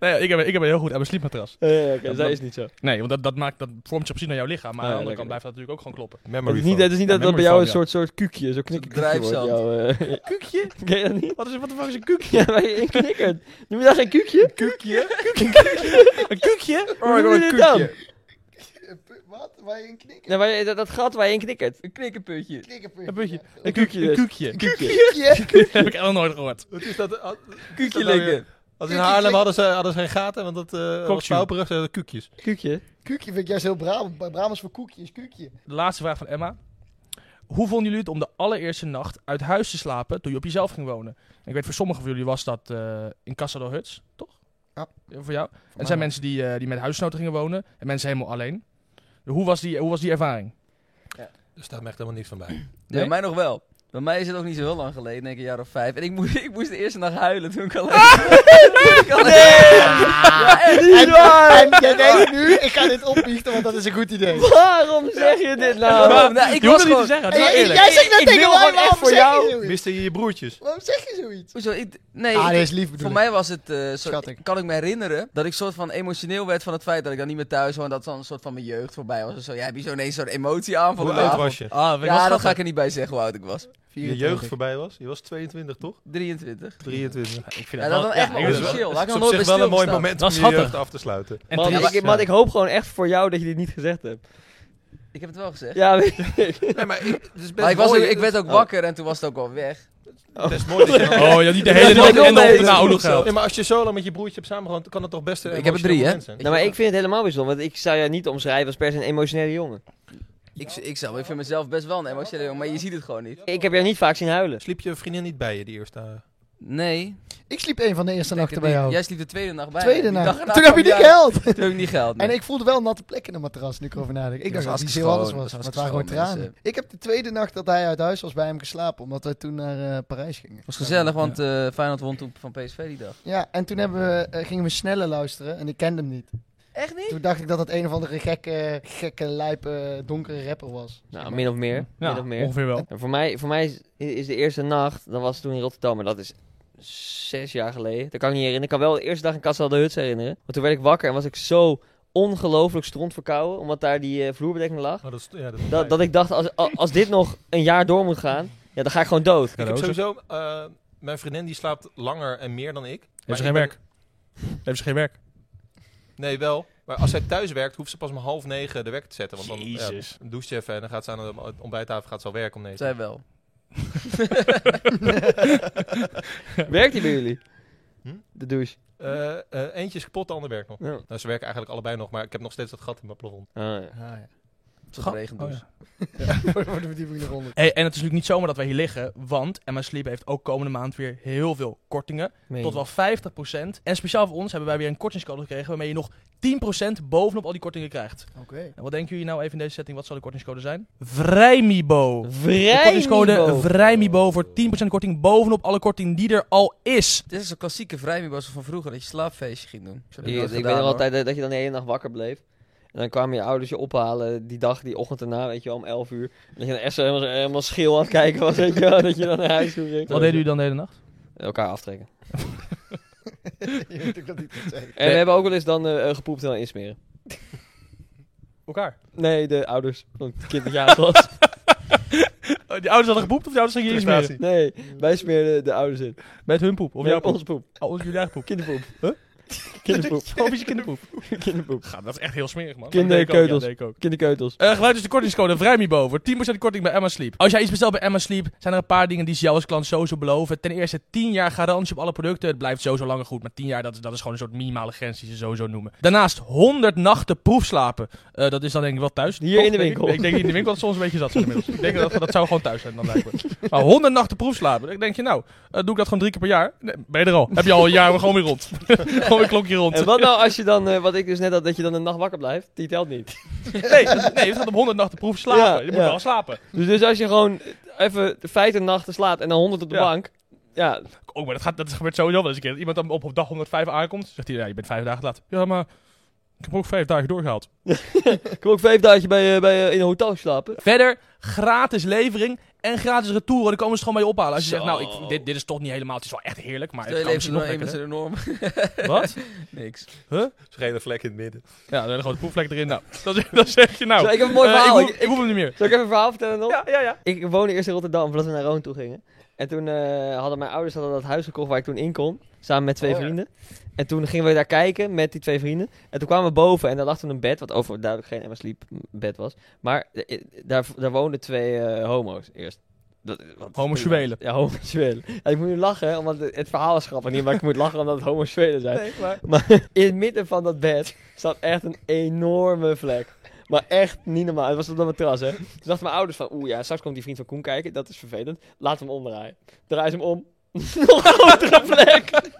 S1: Nou ja, ik heb, ik heb een heel goed aan mijn sleepmatras.
S2: Eh, Oké,
S1: maar-
S2: zij is niet zo.
S1: Nee, want dat, dat, maakt, dat vormt zich precies naar jouw lichaam. Maar
S2: Ja,
S1: aan de andere
S2: lekker.
S1: kant blijft dat natuurlijk ook gewoon kloppen.
S2: Het
S7: Memory
S2: is niet, het is niet
S1: Ja,
S2: dat dat bij
S1: memory
S2: jou een
S1: foam,
S2: soort, soort kuukje, zo'n knikkerkuukje wordt.
S3: drijfzand.
S2: Jou, eh,
S1: Kuukje?
S2: ken je dat niet?
S1: Wat is, wat de fuck is een kuukje?
S2: Ja, waar je in knikkert. Noem je dat geen kuukje?
S7: kuukje.
S1: Een kuukje?
S2: Hoe noem je dit dan?
S5: Eh, Wat? Waar je in knikken?
S2: Nou, waar je, dat, dat gat waar je in knikkert.
S3: Een knikkerputje.
S1: Een
S5: Knikkerpuntje.
S1: puntje. Een
S2: kuukje
S1: kuukje. Een
S2: dus.
S1: kuukje.
S2: Kuukje.
S1: Dat heb ik helemaal nooit gehoord.
S7: Wat is dat? eh, Als
S3: Kuukje
S7: dat nou weer?
S3: likken.
S7: als in Haarlem hadden ze, hadden ze geen gaten, want dat eh was
S1: Kokje.
S7: pauperig. Ze hadden kuukjes.
S2: Kuukje.
S5: Kuukje vind ik juist heel Brabant. Bij Brabants voor koekje is kuukje.
S1: De laatste vraag van Emma. Hoe vonden jullie het om de allereerste nacht uit huis te slapen toen je op jezelf ging wonen? Ik weet, voor sommigen van jullie was dat eh, in Casa del Huts, toch?
S5: Ja.
S1: Voor jou? En er zijn mensen die, eh, die met huisgenoten gingen wonen en mensen helemaal alleen. Hoe was die, hoe was die ervaring?
S7: Er staat me echt helemaal niks van bij.
S3: Ja,
S1: Nee?
S3: bij mij nog wel. Bij mij is het ook niet zo heel lang geleden, denk ik een jaar of vijf. En ik moest, ik moest de eerste nacht huilen toen ik alleen... Toen ik alleen- Ja, echt.
S5: En, en jij denkt nu, ik ga dit opbiechten, want dat is een goed idee.
S2: Waarom zeg je dit nou?
S3: Maar- nou, ik
S1: je
S3: was
S1: hoeft het niet te zeggen,
S3: gewoon...
S1: dat is
S5: Hey,
S1: wel
S5: hey,
S1: eerlijk.
S5: jij zegt net
S2: Ik
S5: tegen
S2: wil
S5: mij,
S2: gewoon echt
S5: waarom
S2: voor
S5: zeg
S2: jou-
S5: je zoiets?
S7: Miste je je broertjes?
S5: Waarom zeg je zoiets?
S3: Hoezo? Ik, nee,
S5: Ah,
S3: ik-
S5: dit is lief bedoel
S3: Voor
S5: ik.
S3: mij was het, eh, zo-
S5: Schat ik.
S3: kan ik me herinneren, dat ik soort van emotioneel werd van het feit dat ik dan niet meer thuis was. En dat dan een soort van mijn jeugd voorbij was. of zo. Ja, heb je zo ineens zo'n emotie aan van
S7: Hoe
S3: de
S7: oud
S3: avond.
S7: was je?
S1: Ah, weet je
S3: Ja,
S1: wat
S3: dat ga
S1: schattig?
S3: ik er niet bij zeggen hoe oud ik was.
S7: Je jeugd voorbij was? Je was 22, toch?
S3: 23.
S7: 23.
S1: Ik vind
S3: Ja,
S1: dat
S3: dat
S1: wel-
S3: was
S1: ja,
S3: echt wel
S1: ik vind dat
S3: officieel.
S7: Dat
S3: Laat ik
S7: is
S3: nog
S7: op
S3: nooit
S7: zich
S3: bij
S7: wel een mooi
S3: stilgestaan.
S7: moment
S1: Dat
S7: om
S1: is
S7: je jeugd
S1: schattig.
S7: af te sluiten.
S1: En
S2: Man,
S1: terecht.
S2: ik, man, ik hoop gewoon echt voor jou dat je dit niet gezegd hebt.
S3: Ik heb het wel gezegd.
S2: Ja, weet je.
S7: Nee, maar ik, het is best
S3: Maar ik, was ook,
S7: mooi-
S3: ik werd ook
S2: Oh.
S3: wakker en toen was het ook al weg.
S7: Het is best mooi dat je dan-
S1: Oh, ja, niet de hele
S2: Dat is
S1: nacht
S2: wel
S1: en dan
S2: beter.
S1: daarna ook nog geld.
S7: Nee, maar als je zo lang met je broertje hebt samengewoond, kan het toch best een
S3: Ik heb er drie, hè?
S7: emotioneel moment
S2: Nou, maar ik vind het helemaal bijzonder, want ik zou jou niet omschrijven als per se een emotionele jongen.
S3: Ik, ik, zelf, ik vind mezelf best wel een emotionele jongen, maar je ziet het gewoon niet.
S2: Ik heb jou niet vaak zien huilen.
S7: zijn. Sliep je vriendin niet bij je die eerste... eh,
S3: Nee.
S5: Ik sliep een van de eerste
S3: Ik
S5: nachten
S3: heb
S5: bij
S3: die-
S5: jou.
S3: Jij sliep de tweede nacht bij.
S5: Tweede
S3: Die dag
S5: nacht.
S3: erna
S5: Toen heb je
S3: kwam
S5: niet
S3: jij-
S5: geld.
S3: Toen heb ik niet geld.
S5: En ik voelde wel een natte plek in de matras, nu ik erover nadenk.
S3: Dat
S5: Ik dacht
S3: is
S5: dat het iets heel
S3: hartstikke
S5: anders
S3: schoon.
S5: was,
S3: Dat
S5: maar
S3: is
S5: het waren gewoon
S3: hartstikke schoon,
S5: tranen. Ik heb de tweede nacht dat hij uit huis was bij hem geslapen, omdat wij toen naar eh, Parijs gingen.
S3: was gezellig, want eh Feyenoord won toen van PSV die dag.
S5: Ja, en toen hebben we, eh, gingen we sneller luisteren en ik kende hem niet.
S3: Echt niet?
S5: Toen dacht ik dat het een of andere gekke, gekke, lijpe, donkere rapper was.
S2: Nou, min of meer.
S1: Ja,
S2: Min of meer.
S1: ongeveer wel.
S2: En voor mij, voor mij is, is de eerste nacht, dat was toen in Rotterdam, maar dat is zes jaar geleden. Dat kan ik niet herinneren. Ik kan wel de eerste dag in Castel de Huts herinneren. Want toen werd ik wakker en was ik zo ongelooflijk strontverkouden, omdat daar die eh, vloerbedekking lag.
S7: Oh, dat is, ja, dat
S2: Dat, dat ik dacht, als, a- als dit nog een jaar door moet gaan, ja, dan ga ik gewoon dood.
S7: Ik heb
S1: Cadeaus.
S7: sowieso... eh, mijn vriendin die slaapt langer en meer dan ik. Maar
S1: Heeft ze
S7: ik
S1: geen
S7: ben-
S1: werk? Heeft ze geen werk?
S7: Nee, wel. Maar als zij thuis werkt, hoeft ze pas om half negen de wekker te zetten. Want dan ja,
S1: Jezus.
S7: dan doucht ze even en dan gaat ze aan de ontbijttafel gaat ze al werken om negen.
S3: Zij wel.
S2: Werkt die bij jullie?
S7: Hm?
S2: De douche.
S7: Eh, eh, eentje is kapot, de ander werkt nog.
S2: Ja.
S7: Nou, ze werken eigenlijk allebei nog, maar ik heb nog steeds dat gat in mijn plafond.
S2: Ah, ja.
S3: Tot de
S1: Schat-
S3: regen
S1: oh,
S3: dus.
S1: ja.
S5: Voor voor de verdieping eronder.
S1: Hey, en het is natuurlijk niet zomaar dat wij hier liggen, want Emma Sleep heeft ook komende maand weer heel veel kortingen.
S2: Meen
S1: Tot
S2: je.
S1: wel 50%. En speciaal voor ons hebben wij weer een kortingscode gekregen waarmee je nog 10% bovenop al die kortingen krijgt.
S5: Oké.
S1: En wat denken jullie nou even in deze setting, wat zal de kortingscode zijn? Vrijmibo! De kortingscode
S2: Vrijmibo.
S1: Vrijmibo voor 10% korting bovenop alle korting die er al is.
S3: Dit is zo'n klassieke vrijmiboos van vroeger, dat je slaapfeestje ging doen. Zo heb
S2: Ik,
S3: dat
S2: ik
S3: gedaan,
S2: weet nog
S3: hoor.
S2: altijd dat, dat je dan de hele nacht wakker bleef. En dan kwamen je ouders je ophalen die dag, die ochtend daarna, weet je wel, om 11 uur. En dat je dan echt zo helemaal, helemaal schil aan het kijken was, weet je wel, dat je dan naar huis toe ging.
S1: Wat deden jullie dan de hele nacht?
S2: Elkaar aftrekken.
S5: Je weet ook dat niet te zeggen.
S2: En we hebben ook wel eens dan eh, eh, gepoept en dan insmeren.
S1: Elkaar.
S2: Nee, de ouders van het kind dat je aan was.
S1: Oh, die ouders hadden geboept of die ouders gingen iets meer?
S7: Prestatie.
S2: Nee, wij smeerden de ouders in.
S1: Met hun poep. Of
S2: Nee,
S1: jouw poep.
S2: ons poep.
S1: Oh, jullie eigen poep.
S2: Kinderpoep. Huh? Kinderpoep.
S1: Of is je kinderpoep?
S2: Kinderpoep.
S1: Ga, dat is echt heel smerig, man.
S2: Kinderkeutels.
S1: Dat deed ik ook, ja, dat deed ik ook.
S2: Kinderkeutels.
S1: Eh gebruik dus de kortingscode VRIJMIBO voor 10% korting bij Emma Sleep. Als jij iets bestelt bij Emma Sleep, zijn er een paar dingen die ze jou als klant sowieso beloven. Ten eerste 10 jaar garantie op alle producten. Het blijft sowieso langer goed, maar 10 jaar dat is, dat is gewoon een soort minimale grens die ze sowieso noemen. Daarnaast 100 nachten proefslapen. Eh, dat is dan denk ik wel thuis.
S2: Hier
S1: Toch?
S2: in de
S1: Denk ik-
S2: winkel.
S1: Ik, denk in de winkel dat ze ons een beetje zat zijn inmiddels. ik denk dat dat zou gewoon thuis zijn dan blijkbaar. Maar 100 nachten proefslapen. Dan denk je nou, eh, doe ik dat gewoon drie keer per jaar? Nee, ben je er al. Heb je al een jaar gewoon weer rond. gewoon weer klokje rond.
S2: En wat nou als je dan, eh, wat ik dus net had, dat je dan een nacht wakker blijft? Die telt niet.
S1: Nee, dat- nee, het gaat om 100 nachten proefslapen.
S2: Ja,
S1: je moet
S2: ja.
S1: wel slapen.
S2: Dus, dus als je gewoon even 50 nachten slaapt en dan 100 op de
S1: Ja.
S2: bank. Ja,
S1: Oh, maar dat, gaat, dat gebeurt sowieso wel eens een keer. Dat Iemand dan op, op dag 105 aankomt, zegt hij, ja, je bent vijf dagen te laat. Ja, maar ik heb ook vijf dagen doorgehaald.
S2: Kom ook vijf dagen bij, eh, bij, eh, in een hotel slapen.
S1: Verder, gratis levering en gratis retour. hoor. Dan komen ze gewoon mee ophalen. Als je
S3: Zo.
S1: zegt, nou, ik, dit, dit is toch niet helemaal... Het is wel echt heerlijk, maar
S3: Stel
S1: het
S3: je
S1: kan
S3: leven
S1: misschien
S3: nog
S1: nog
S3: één met
S1: lekkerder.
S3: zijn enorm.
S1: Wat?
S3: Niks.
S7: Gele vlek in het midden.
S1: Ja, er is een grote proefvlek erin. Nou, dan, dan zeg je nou...
S2: Zo, ik heb een mooi
S1: eh,
S2: verhaal.
S1: ik, hoef,
S2: Ik-
S1: ik hoef hem niet meer.
S2: Zal ik even een verhaal vertellen nog?
S1: Ja, ja, ja.
S2: Ik woonde eerst in Rotterdam, voordat we naar Roon toe gingen. En toen eh, hadden mijn ouders hadden dat huis gekocht waar ik toen in kon, samen met twee
S5: Oh ja.
S2: vrienden. En toen gingen we daar kijken met die twee vrienden. En toen kwamen we boven en daar lag toen een bed, wat over duidelijk geen Emma Sleep bed was. Maar eh, daar, daar woonden twee eh, homo's eerst. Dat, wat
S1: Homoseksuelen.
S2: Ja, homoseksuelen. En ik moet nu lachen, omdat het, het verhaal is grappig niet, maar ik moet lachen omdat het homoseksuelen zijn.
S5: maar...
S2: Maar in het midden van dat bed zat echt een enorme vlek. Maar echt niet normaal. Het was op dat matras, hè. Toen dachten mijn ouders van... Oeh, ja, straks komt die vriend van Koen kijken. Dat is vervelend. Laat hem omdraaien. Draai ze hem om. Nog grotere vlek.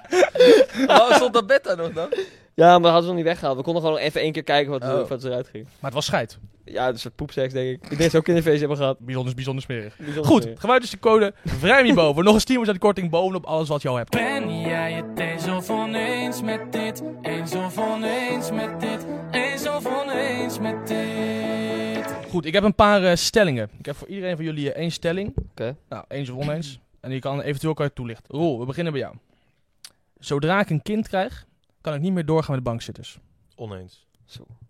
S3: Waarom Oh, stond dat bed daar nog dan?
S2: Ja, maar dat hadden ze nog niet weggehaald. We konden gewoon even één keer kijken wat,
S3: Oh.
S2: wat eruit ging.
S1: Maar het was scheid.
S2: Ja, een soort poepseks, denk ik. Ik denk dat ze ook kinderfeest hebben gehad.
S1: Bijzonder, bijzonder smerig.
S2: Bijzonder
S1: Goed,
S2: weer.
S1: gebruik dus de code VRIJMIBO voor nog eens 10% korting bovenop alles wat je al hebt.
S4: Ben jij het eens of oneens met dit? Eens of oneens met dit? Eens of oneens met dit?
S1: Goed, ik heb een paar eh, stellingen. Ik heb voor iedereen van jullie eh, één stelling.
S2: Oké.
S1: Nou, eens of oneens. En die kan eventueel kan je toelichten. Roel, we beginnen bij jou. Zodra ik een kind krijg, kan ik niet meer doorgaan met bankzitters.
S7: Oneens.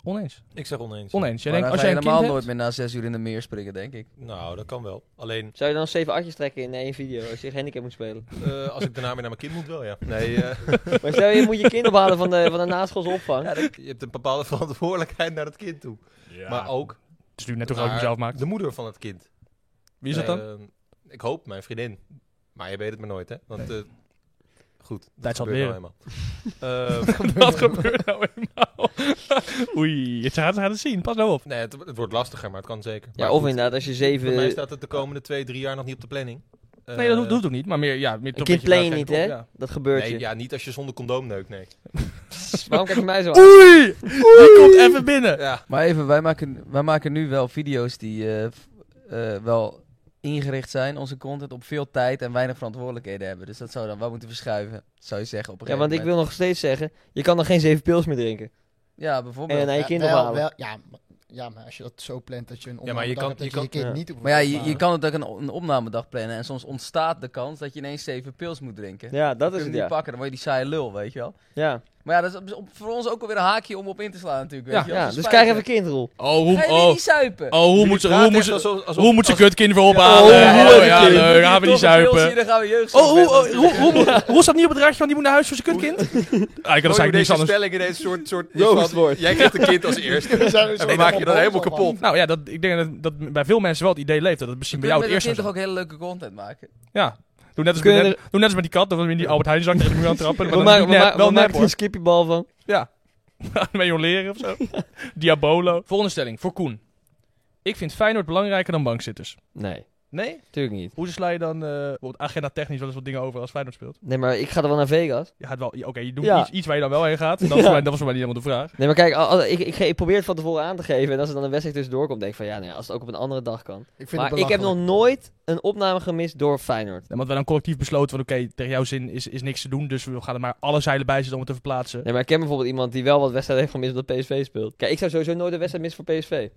S1: Oneens.
S7: Ik zeg oneens.
S1: Oneens. Jij
S3: Maar
S1: denkt,
S3: dan
S1: als
S3: ga
S1: jij
S3: je
S1: een kind
S3: helemaal
S1: hebt...
S3: nooit meer na zes uur in de meer springen, denk ik.
S7: Nou, dat kan wel. Alleen
S2: Zou je dan nog zeven atjes trekken in één video als je handicap moet spelen?
S7: eh, als ik daarna weer naar mijn kind moet, wel ja. Nee, eh,
S2: Maar stel je moet je kind ophalen van de, van de naschoolse opvang.
S7: ja, dat- je hebt een bepaalde verantwoordelijkheid naar het kind toe. maar ook
S1: Het is nu net hoe groot ik
S7: naar
S1: mezelf maak.
S7: de moeder van het kind.
S1: Wie is dat dan?
S7: Eh, ik hoop mijn vriendin. Maar je weet het maar nooit, hè? Want eh, goed, dat
S1: Tijd zal
S7: gebeurt
S1: leren.
S7: nou eenmaal. Eh,
S1: Wat gebeurt nou eenmaal? Oei, het gaat, gaat het zien. Pas nou op.
S7: nee, het, het wordt lastiger, maar het kan zeker.
S2: Ja,
S7: Maar
S2: of
S7: goed,
S2: inderdaad als je
S7: Voor mij
S2: zeven...
S7: staat het de komende twee, drie jaar nog niet op de planning.
S1: Nee,
S7: Eh,
S1: dat hoeft, dat hoeft ook niet. Maar meer, ja, meer toch
S2: Een kind
S1: beetje
S2: play je
S1: daar
S2: niet,
S1: geen
S2: hè?
S1: kop, ja.
S2: Dat gebeurt
S7: nee,
S2: je.
S7: ja, niet als je zonder condoom neukt, nee.
S2: Waarom kijk je mij zo aan?
S1: Oei! Die komt even binnen.
S7: Ja,
S3: Maar even, wij maken, wij maken nu wel video's die eh, f- eh, wel ingericht zijn, onze content, op veel tijd en weinig verantwoordelijkheden hebben. Dus dat zou dan wel moeten verschuiven, zou je zeggen op een
S2: Ja,
S3: gegeven
S2: want ik wil
S3: moment.
S2: nog steeds zeggen, je kan nog geen zeven pils meer drinken.
S3: Ja,
S2: En
S3: bijvoorbeeld.
S2: naar je
S5: Ja,
S2: kind
S5: wel-
S2: ophalen.
S5: wel- ja, maar- ja, maar als je dat zo plant dat je een
S7: maar je
S5: opnamedag
S7: kan-
S5: hebt, dat
S7: je kan-
S5: kind
S2: ja.
S5: niet op
S3: Maar ja, je, je kan het ook een, een opnamedag plannen en soms ontstaat de kans dat je ineens zeven pils moet drinken.
S2: Ja, dat
S3: Kun
S2: is
S3: je
S2: het,
S3: hem niet
S2: ja.
S3: pakken, dan word je die saaie lul, weet je wel.
S2: Ja,
S3: Maar ja, dat is op- op- voor ons ook alweer een haakje om op in te slaan natuurlijk,
S1: Ja,
S3: weet je wel.
S2: ja
S3: Ze
S2: dus
S3: spijken.
S2: krijg even kindrol.
S1: Oh,
S3: Ga
S1: hoe,
S3: je weer
S1: oh,
S3: niet zuipen?
S1: oh, hoe moet ze, hoe moet ze, hoe moet ze kutkind weer
S2: Oh,
S1: ophalen?
S2: hoe
S1: Ja,
S2: moet
S1: oh,
S2: het
S1: ja,
S2: kind?
S1: leuk, gaan we niet
S3: Toch een pilsje,
S1: zuipen.
S3: Dan gaan we jeugd.
S1: Oh, oh, oh, Roel- Roel- Roel staat niet op het draadje, want die moet naar huis voor zijn kutkind. Ah, ik had eigenlijk niks
S7: deze
S1: anders.
S7: stelling in deze soort... soort
S2: Roostwoord.
S7: jij krijgt een kind als eerste. En dan maak je dat helemaal kapot.
S1: Nou ja, dat, ik denk dat, dat bij veel mensen wel het idee leeft dat het misschien bij jou het eerst
S3: kind
S1: zou
S3: toch
S1: zijn.
S3: ook hele leuke content maken?
S1: Ja. Doe net, als
S2: Kunnen
S1: met, net, doe net als met die kat, dat we in die Albert Heijnzak tegen de muur aan trappen. Maar
S2: We
S1: dat
S2: maken,
S1: is
S2: we
S1: niet nep,
S2: maken-
S1: wel
S2: we
S1: nep
S2: maken er
S1: hoor.
S2: een skippiebal van.
S1: Ja. Met leren of zo. Diabolo. Volgende stelling, voor Koen. Ik vind Feyenoord belangrijker dan bankzitters.
S2: Nee,
S1: Nee?
S2: natuurlijk niet.
S1: Hoe sla je dan eh bijvoorbeeld agenda technisch wel eens wat dingen over als Feyenoord speelt?
S2: Nee, maar ik ga er wel naar Vegas.
S1: Je gaat wel, oké, je doet
S2: Ja.
S1: iets, iets waar je dan wel heen gaat. Dat, was
S2: Ja.
S1: voor mij, dat was voor mij niet helemaal de vraag.
S2: Nee, maar kijk, al- al- ik, ik, ge- ik probeer het van tevoren aan te geven. En als er dan een wedstrijd tussendoor komt, denk ik van ja, nee, als het ook op een andere dag kan.
S5: Ik vind
S2: Maar
S5: het
S2: ik heb nog
S5: belachelijk.
S2: nooit een opname gemist door Feyenoord.
S1: Ja, want we dan collectief besloten van oké, tegen jouw zin is, is niks te doen. Dus we gaan er maar alle zeilen bij zitten om het te verplaatsen.
S2: Nee, maar ik ken bijvoorbeeld iemand die wel wat wedstrijden heeft gemist omdat PSV speelt. Kijk, ik zou sowieso nooit een wedstrijd missen voor PSV.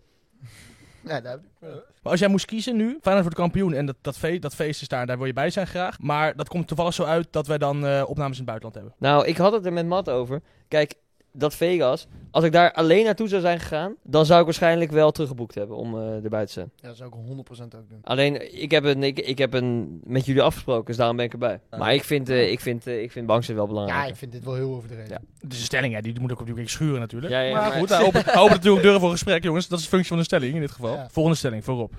S5: Nee, daar heb ik-
S1: Maar als jij moest kiezen nu, Feyenoord wordt kampioen en dat, dat, feest, dat feest is daar, en daar wil je bij zijn graag. Maar dat komt toevallig zo uit dat wij dan eh, opnames in het buitenland hebben.
S2: Nou, ik had het er met Matt over. Kijk, dat Vegas, als ik daar alleen naartoe zou zijn gegaan, dan zou ik waarschijnlijk wel teruggeboekt hebben om eh, erbij te zijn.
S5: Ja, dat zou ik 100% ook doen.
S2: Alleen, ik heb, een, ik, ik heb een, met jullie afgesproken, dus daarom ben ik erbij.
S3: Ah.
S2: Maar ik vind, eh ik vind, eh, ik vind bankzit wel
S5: Ja,
S2: belangrijk.
S5: ik vind dit wel heel overdreven.
S2: Ja.
S1: Dus de stelling, hè, die moet ook natuurlijk schuren natuurlijk.
S2: Ja, ja,
S1: maar,
S2: maar-
S1: goed, hij opent, hij opent natuurlijk deuren voor gesprek, jongens. Dat is de functie van een stelling in dit geval.
S5: Ja.
S1: Volgende stelling, voorop.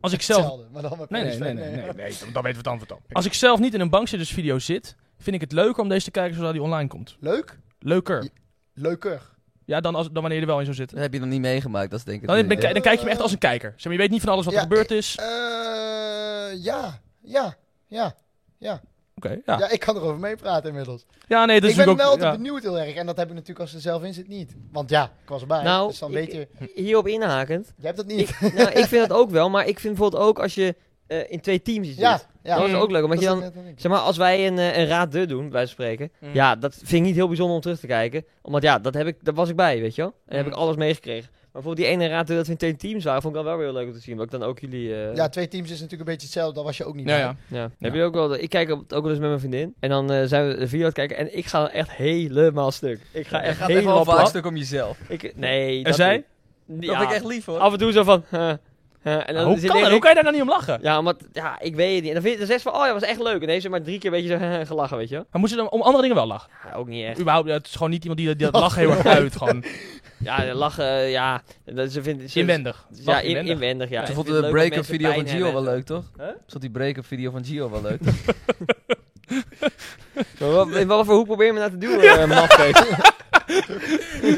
S1: Als ik zelf...
S5: Hetzelfde, maar dan met
S1: Nee, nee,
S5: PSV.
S1: nee, nee, nee, nee, dan- dan weten we het antwoord al. Als ik zelf niet in een bankzittersvideo zit, vind ik het leuker om deze te kijken zodra die online komt.
S5: Leuk,
S1: Leuker.
S5: leuker.
S1: Ja, dan, als, dan wanneer je er wel in zou zitten.
S3: Dat heb je nog niet meegemaakt, dat is denk ik
S1: Dan, dan,
S3: het ding,
S1: ki-
S3: hè?
S1: dan kijk je hem echt als een kijker. Zeg maar, je weet niet van alles wat er
S5: Ja,
S1: gebeurd is.
S5: Eh, ja, ja, ja.
S1: Oké,
S5: Ja.
S1: ja.
S5: ik kan erover meepraten inmiddels.
S1: Ja, nee, dat
S5: ik
S1: is
S5: ben
S1: natuurlijk
S5: wel
S1: ook...
S5: te
S1: ja.
S5: benieuwd heel erg. En dat heb je natuurlijk als je er zelf in zit niet. Want ja, ik was erbij.
S2: Nou,
S5: dus dan
S2: ik-
S5: weet je,
S2: Hierop inhakend,
S5: je hebt dat niet.
S2: ik, nou, ik vind dat ook wel, maar ik vind bijvoorbeeld ook als je eh, in twee teams iets
S5: Ja,
S2: doet.
S5: ja.
S2: Dat was ook leuk, omdat je
S5: is
S2: dan...
S5: net een ding.
S2: Zeg maar, als wij een, eh, een raad de doen, bij wijze van spreken.
S1: Mm.
S2: Ja, dat vind ik niet heel bijzonder om terug te kijken. Omdat ja, dat heb ik, daar was ik bij, weet je wel. En daar
S1: Mm.
S2: heb ik alles meegekregen. Maar bijvoorbeeld die ene raad de dat we in twee teams waren, vond ik dan wel weer heel leuk om te zien. Omdat ik dan ook jullie... eh,
S5: Ja, twee teams is natuurlijk een beetje hetzelfde. Dat was je ook niet.
S4: Ja,
S5: bij.
S4: ja.
S2: Ja. Heb je ook wel, ik kijk op- ook wel eens met mijn vriendin. En dan eh, zijn we de video aan het kijken. En ik ga echt helemaal stuk. Ik ga
S3: Het gaat
S2: echt
S3: echt wel
S2: helemaal
S3: een vaak
S2: plat.
S3: stuk om jezelf.
S2: Ik, nee.
S1: En zij?
S2: niet.
S3: Dat
S2: Ja,
S3: vind ik echt lief hoor.
S2: Af en toe zo van... huh, huh. en dan
S1: hoe,
S2: zit
S1: kan dat?
S2: Erik-
S1: hoe kan je daar nou niet om lachen?
S2: Ja, maar ja, ik weet het niet. En dan, vind, dan zegt ze van, oh ja, was echt leuk. En heeft ze maar drie keer een beetje zo huh, huh, gelachen, weet je wel.
S1: Maar moet je dan om andere dingen wel lachen?
S2: Ja, ook niet echt.
S1: Überhaupt, het is gewoon niet iemand die, dat- die dat lachen heel erg uit. Gewoon
S2: Ja, de lachen, eh, ja. Dat, ze vindt, ze,
S1: inwendig.
S2: Ja,
S1: Lach
S2: in- inwendig. ja.
S3: Ze
S2: Ik
S3: vond
S2: vind het
S3: de
S2: leuk
S3: break-up
S2: dat mensen
S3: video van
S2: pijn
S3: Gio wel
S2: hebben.
S3: leuk, toch?
S2: Huh?
S3: Ze vond die break-up video van Gio wel leuk.
S2: Maar wat, in wat voor hoe probeer je me nou te duwen, eh, mafkees?
S3: Dat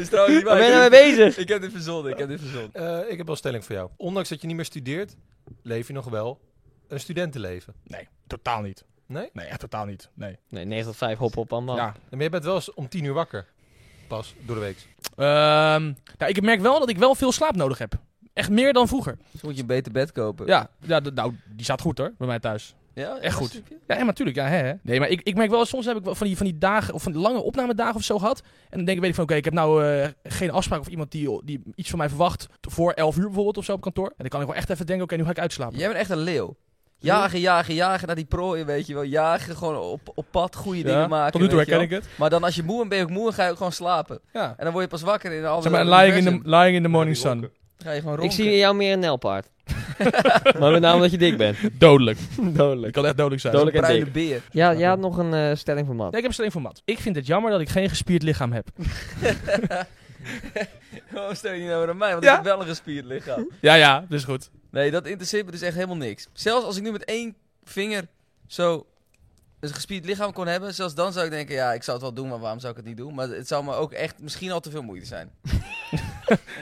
S3: is trouwens niet waar.
S2: Waar ben je nou
S3: Ik-
S2: mee bezig?
S3: Ik heb dit verzonnen, ik heb dit verzonnen.
S7: Eh, ik heb wel een stelling voor jou. Ondanks dat je niet meer studeert, leef je nog wel een studentenleven.
S1: Nee, totaal niet.
S7: Nee?
S1: Nee, echt totaal niet. Nee.
S2: Nee, 9 tot 5, hop, hop, allemaal.
S1: Ja.
S7: Maar je bent wel eens om tien uur wakker. Pas, door de week.
S1: Ehm, nou, ik merk wel dat ik wel veel slaap nodig heb. Echt meer dan vroeger.
S3: Dus moet je een beter bed kopen.
S1: Ja, ja d- nou, die staat goed hoor, bij mij thuis.
S3: Ja,
S1: echt goed.
S3: snap je?
S1: Ja, maar natuurlijk, ja, hè, hè. Nee, maar ik, ik merk wel, eens, soms heb ik wel van die, van die dagen, of van die lange opnamedagen of zo gehad. En dan denk ik, weet ik van, oké, ik heb nou eh, geen afspraak of iemand die, die iets van mij verwacht voor 11 uur bijvoorbeeld of zo op kantoor. En dan kan ik wel echt even denken, oké, nu ga ik uitslapen.
S3: Jij bent echt een leeuw. Jagen, jagen, jagen naar die prooien, weet je wel. Jagen, gewoon op, op pad, goede dingen maken.
S1: tot nu toe
S3: weet je
S1: herken ik
S3: wel.
S1: het.
S3: Maar dan als je moe bent, ben je ook moe en ga je ook gewoon slapen.
S1: Ja.
S3: En dan word je pas wakker in een halve
S1: Zeg maar,
S3: uur
S1: lying in,
S3: universum.
S1: the, lying in the morning sun.
S3: Dan ga je gewoon
S2: Ik
S3: rond.
S2: zie in jou meer een nelpaard. maar met name omdat je dik bent.
S1: Dodelijk. Ik
S2: Dodelijk.
S1: kan echt dodelijk zijn.
S2: Dodelijk.
S3: bruine beer.
S2: Ja, jij had nog een eh, stelling voor
S1: Ja,
S2: Matt.
S1: ik heb een stelling voor Matt. Ik vind het jammer dat ik geen gespierd lichaam heb.
S3: Waarom stel je niet nou aan mij? Want
S1: Ja.
S3: ik heb wel een gespierd lichaam.
S1: Ja, ja, dat is goed.
S3: Nee, dat interesseert me dus echt helemaal niks. Zelfs als ik nu met één vinger zo een gespierd lichaam kon hebben, zelfs dan zou ik denken, ja, ik zou het wel doen, maar waarom zou ik het niet doen? Maar het zou me ook echt misschien al te veel moeite zijn.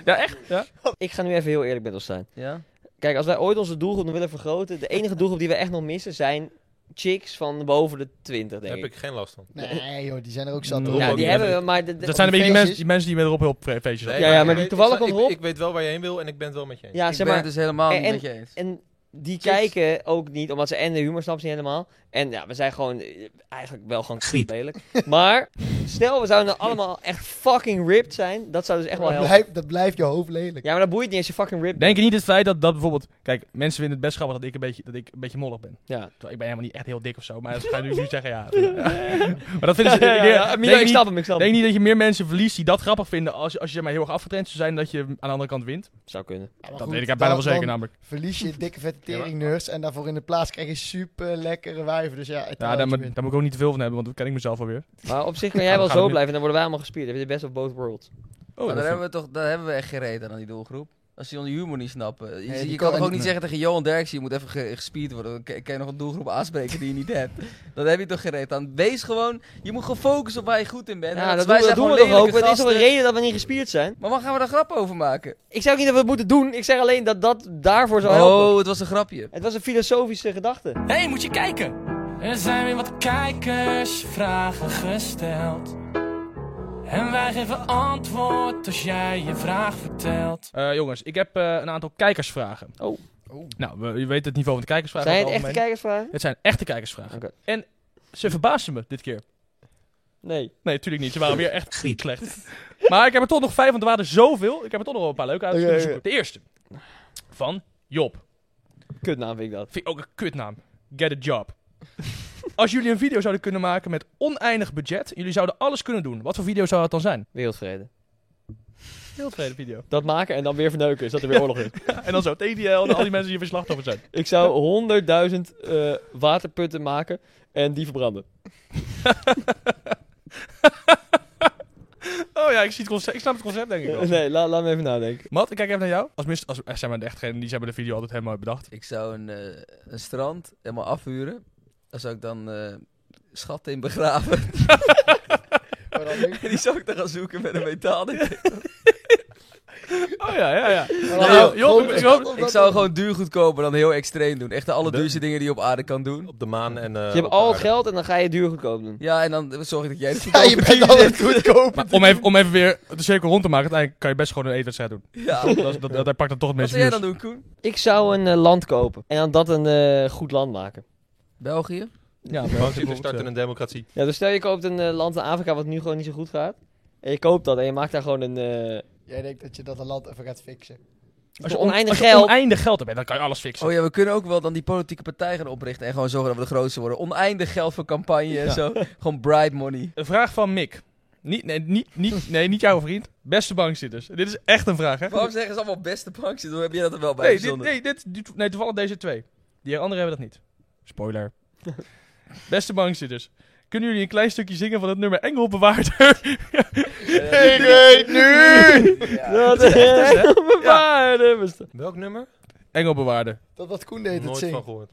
S1: Ja, echt? Ja.
S2: Ik ga nu even heel eerlijk met ons zijn.
S3: Ja?
S2: Kijk, als wij ooit onze doelgroep nog willen vergroten, de enige doelgroep die we echt nog missen zijn chicks van boven de 20,
S7: Daar
S2: denk
S7: heb
S2: ik.
S7: ik geen last van.
S5: Nee, joh, die zijn er ook zat.
S1: Ja,
S5: op.
S2: Ja,
S7: Rob ook
S2: die
S7: niet.
S2: hebben we, maar... de- de-
S1: Dat zijn een beetje die
S5: feestjes.
S1: mensen, die mensen die met Rob op feestjes
S7: Nee,
S1: op.
S2: ja, maar
S7: ik
S2: die
S7: weet-
S2: toevallig
S7: ik snap-
S2: komt
S7: ik,
S2: Rob.
S7: ik weet wel waar je heen wil en ik ben het wel met je eens.
S2: Ja,
S3: ik
S2: zeg
S3: ben
S2: maar...
S3: het dus helemaal
S2: en-
S3: niet met je eens.
S2: En die kijken ook niet, omdat ze en de humor snappen ze niet helemaal. En ja, we zijn gewoon eh, eigenlijk wel gewoon creep lelijk. Maar stel, we zouden allemaal echt fucking ripped zijn. Dat zou dus echt wel
S5: dat,
S2: helpen.
S5: blijft, dat blijft je hoofd lelijk.
S2: Ja, maar dat boeit niet als je fucking ripped
S1: Denk je niet het feit dat, dat bijvoorbeeld... Kijk, mensen vinden het best grappig dat ik een beetje, dat ik een beetje mollig ben.
S2: bent. Ja.
S1: Terwijl ik ben helemaal niet echt heel dik of zo. Maar dat ga je nu, nu zeggen, ja. Maar dat vinden ze... ik denk-
S2: Milo,
S1: denk
S2: ik
S1: niet-
S2: snap hem, ik snap
S1: denk
S2: hem.
S1: niet dat je meer mensen verliest die dat grappig vinden als, je- als je zeg maar heel erg afgetraind zou zijn dat je aan de andere kant wint.
S2: Zou kunnen.
S5: Ja, maar
S1: dat
S5: goed,
S1: weet ik bijna wel
S5: dan-
S1: zeker
S5: dan
S1: namelijk.
S5: Verlies je dikke vette teringneurs en daarvoor in de plaats krijg je super lekkere wijven. Dus ja, het
S1: Ja, daar, moet- daar moet ik ook niet te veel van hebben, want dat ken ik mezelf Oh, alweer.
S2: Maar op zich kan jij
S1: Ja,
S2: wel
S1: we gaan
S2: zo
S1: hem
S2: blijven en dan worden wij allemaal gespierd. Dan heb je de best of both worlds.
S1: Oh,
S3: maar daar hebben, we toch, daar hebben we echt geen reet aan, aan die doelgroep. Als die onze humor niet snappen. Je,
S5: Nee,
S3: je
S5: die
S3: kan
S5: kan-
S3: toch ook
S5: nee.
S3: niet zeggen tegen Johan Derksen, je moet even ge- gespierd worden. Dan kan- kan je nog een doelgroep aanspreken die je niet hebt. Dan heb je toch geen reet aan. Wees gewoon, je moet gewoon focussen op waar je goed in bent. En
S2: Ja,
S3: als-
S2: dat, doen we- dat doen we toch
S3: lelijke
S2: ook. Het is toch een
S3: gasten.
S2: reden dat we niet gespierd zijn?
S3: Maar waar gaan we daar grap over maken?
S2: Ik zeg ook niet dat we het moeten doen. Ik zeg alleen dat dat daarvoor zou helpen.
S3: Oh, het was een grapje.
S2: Het was een filosofische gedachte.
S4: Hé, hey, moet je kijken! Er zijn weer wat kijkers vragen gesteld. En wij geven antwoord als jij je vraag vertelt.
S1: Eh, jongens, ik heb eh, een aantal kijkersvragen.
S2: Oh.
S1: Nou, we- je weet het niveau van de kijkersvragen.
S2: Zijn het
S1: over het
S2: echte
S1: algemeen.
S2: kijkersvragen?
S1: Het zijn echte kijkersvragen.
S2: Oké.
S1: En ze verbaasden me dit keer.
S2: Nee.
S1: Nee, natuurlijk niet. Ze waren weer echt slecht. Maar ik heb er toch nog vijf, want er waren er zoveel. Ik heb er toch nog wel een paar leuke uit.
S2: Oké,
S1: Dus
S2: oké.
S1: De eerste. Van Job.
S2: Kutnaam vind ik dat.
S1: Vind ik ook een kutnaam. Get a job. Als jullie een video zouden kunnen maken met oneindig budget, en jullie zouden alles kunnen doen, wat voor video zou dat dan zijn?
S2: Wereldvrede.
S1: Heel tevreden video.
S2: Dat maken en dan weer verneuken, is dat er weer oorlog is.
S1: En dan zo TDL en al die mensen die er slachtoffer zijn.
S2: Ik zou 100.000 eh, waterputten maken en die verbranden.
S1: Oh ja, ik, zie het concept, ik snap het concept denk ik wel.
S2: nee, la- laat me even nadenken.
S1: Mat, ik kijk even naar jou. Als, mis, als eh, zeg maar, de echtgenen, die hebben de video altijd helemaal bedacht.
S3: Ik zou een, eh, een strand helemaal afhuren. Daar zou ik dan eh, schatten in begraven.
S5: Maar dan nu-
S3: die zou ik dan gaan zoeken met een metaal.
S1: Oh ja, ja, ja.
S5: Nou,
S1: Job,
S5: gewoon-
S1: Job-
S5: omdat-
S3: Ik zou gewoon duur goedkoper dan heel extreem doen. Echt de allerduurste dingen die je op aarde kan doen.
S7: Op de maan en... eh,
S2: Je hebt
S7: op
S2: al het
S7: aarde.
S2: geld en dan ga je duur goedkoop doen.
S3: Ja, en dan zorg ik dat jij het
S5: Ja, je
S3: goedkoper
S5: bent
S3: doet.
S5: altijd goedkoop.
S1: Maar om even, om even weer de cirkel rond te maken, uiteindelijk kan je best gewoon een eetwedstrijd doen.
S3: Ja.
S1: Dat, is- dat, dat, daar pakt dan toch het
S3: Wat
S1: meeste
S3: zou jij
S1: views.
S3: dan doen, Koen?
S2: Ik zou een eh, land kopen en dan dat een eh, goed land maken.
S3: België?
S1: Ja,
S7: Want we
S1: eh,
S7: starten een democratie.
S2: Ja, dus stel je koopt een eh, land in Afrika wat nu gewoon niet zo goed gaat. En je koopt dat en je maakt daar gewoon een... eh,
S5: Jij denkt dat je dat een land even gaat fixen.
S2: Als je
S1: on-
S2: oneindig
S1: als je
S2: geld-
S1: oneindig geld hebt, dan kan je alles fixen.
S3: Oh ja, we kunnen ook wel dan die politieke partij gaan oprichten en gewoon zorgen dat we de grootste worden. Oneindig geld voor campagne en
S1: Ja.
S3: zo. Gewoon bribe money.
S1: Een vraag van Mick. Niet, nee, niet, niet, nee, niet jouw vriend. Beste bankzitters. Dit is echt een vraag, hè?
S3: Waarom zeggen ze allemaal beste bankjes? Hoe heb jij dat er wel bij
S1: Nee, dit,
S3: verzonnen?
S1: nee, dit, die- nee, toevallig deze twee. Die anderen hebben dat niet. Spoiler. Beste bankzitters. Kunnen jullie een klein stukje zingen van het nummer Engelbewaarder?
S3: Eh,
S1: weet nu!
S3: ja.
S2: Dat eh, bewaarde bestaan.
S7: Welk nummer?
S1: Engelbewaarder.
S5: Dat wat Koen deed, het
S7: Nooit van
S5: zingt.
S7: gehoord.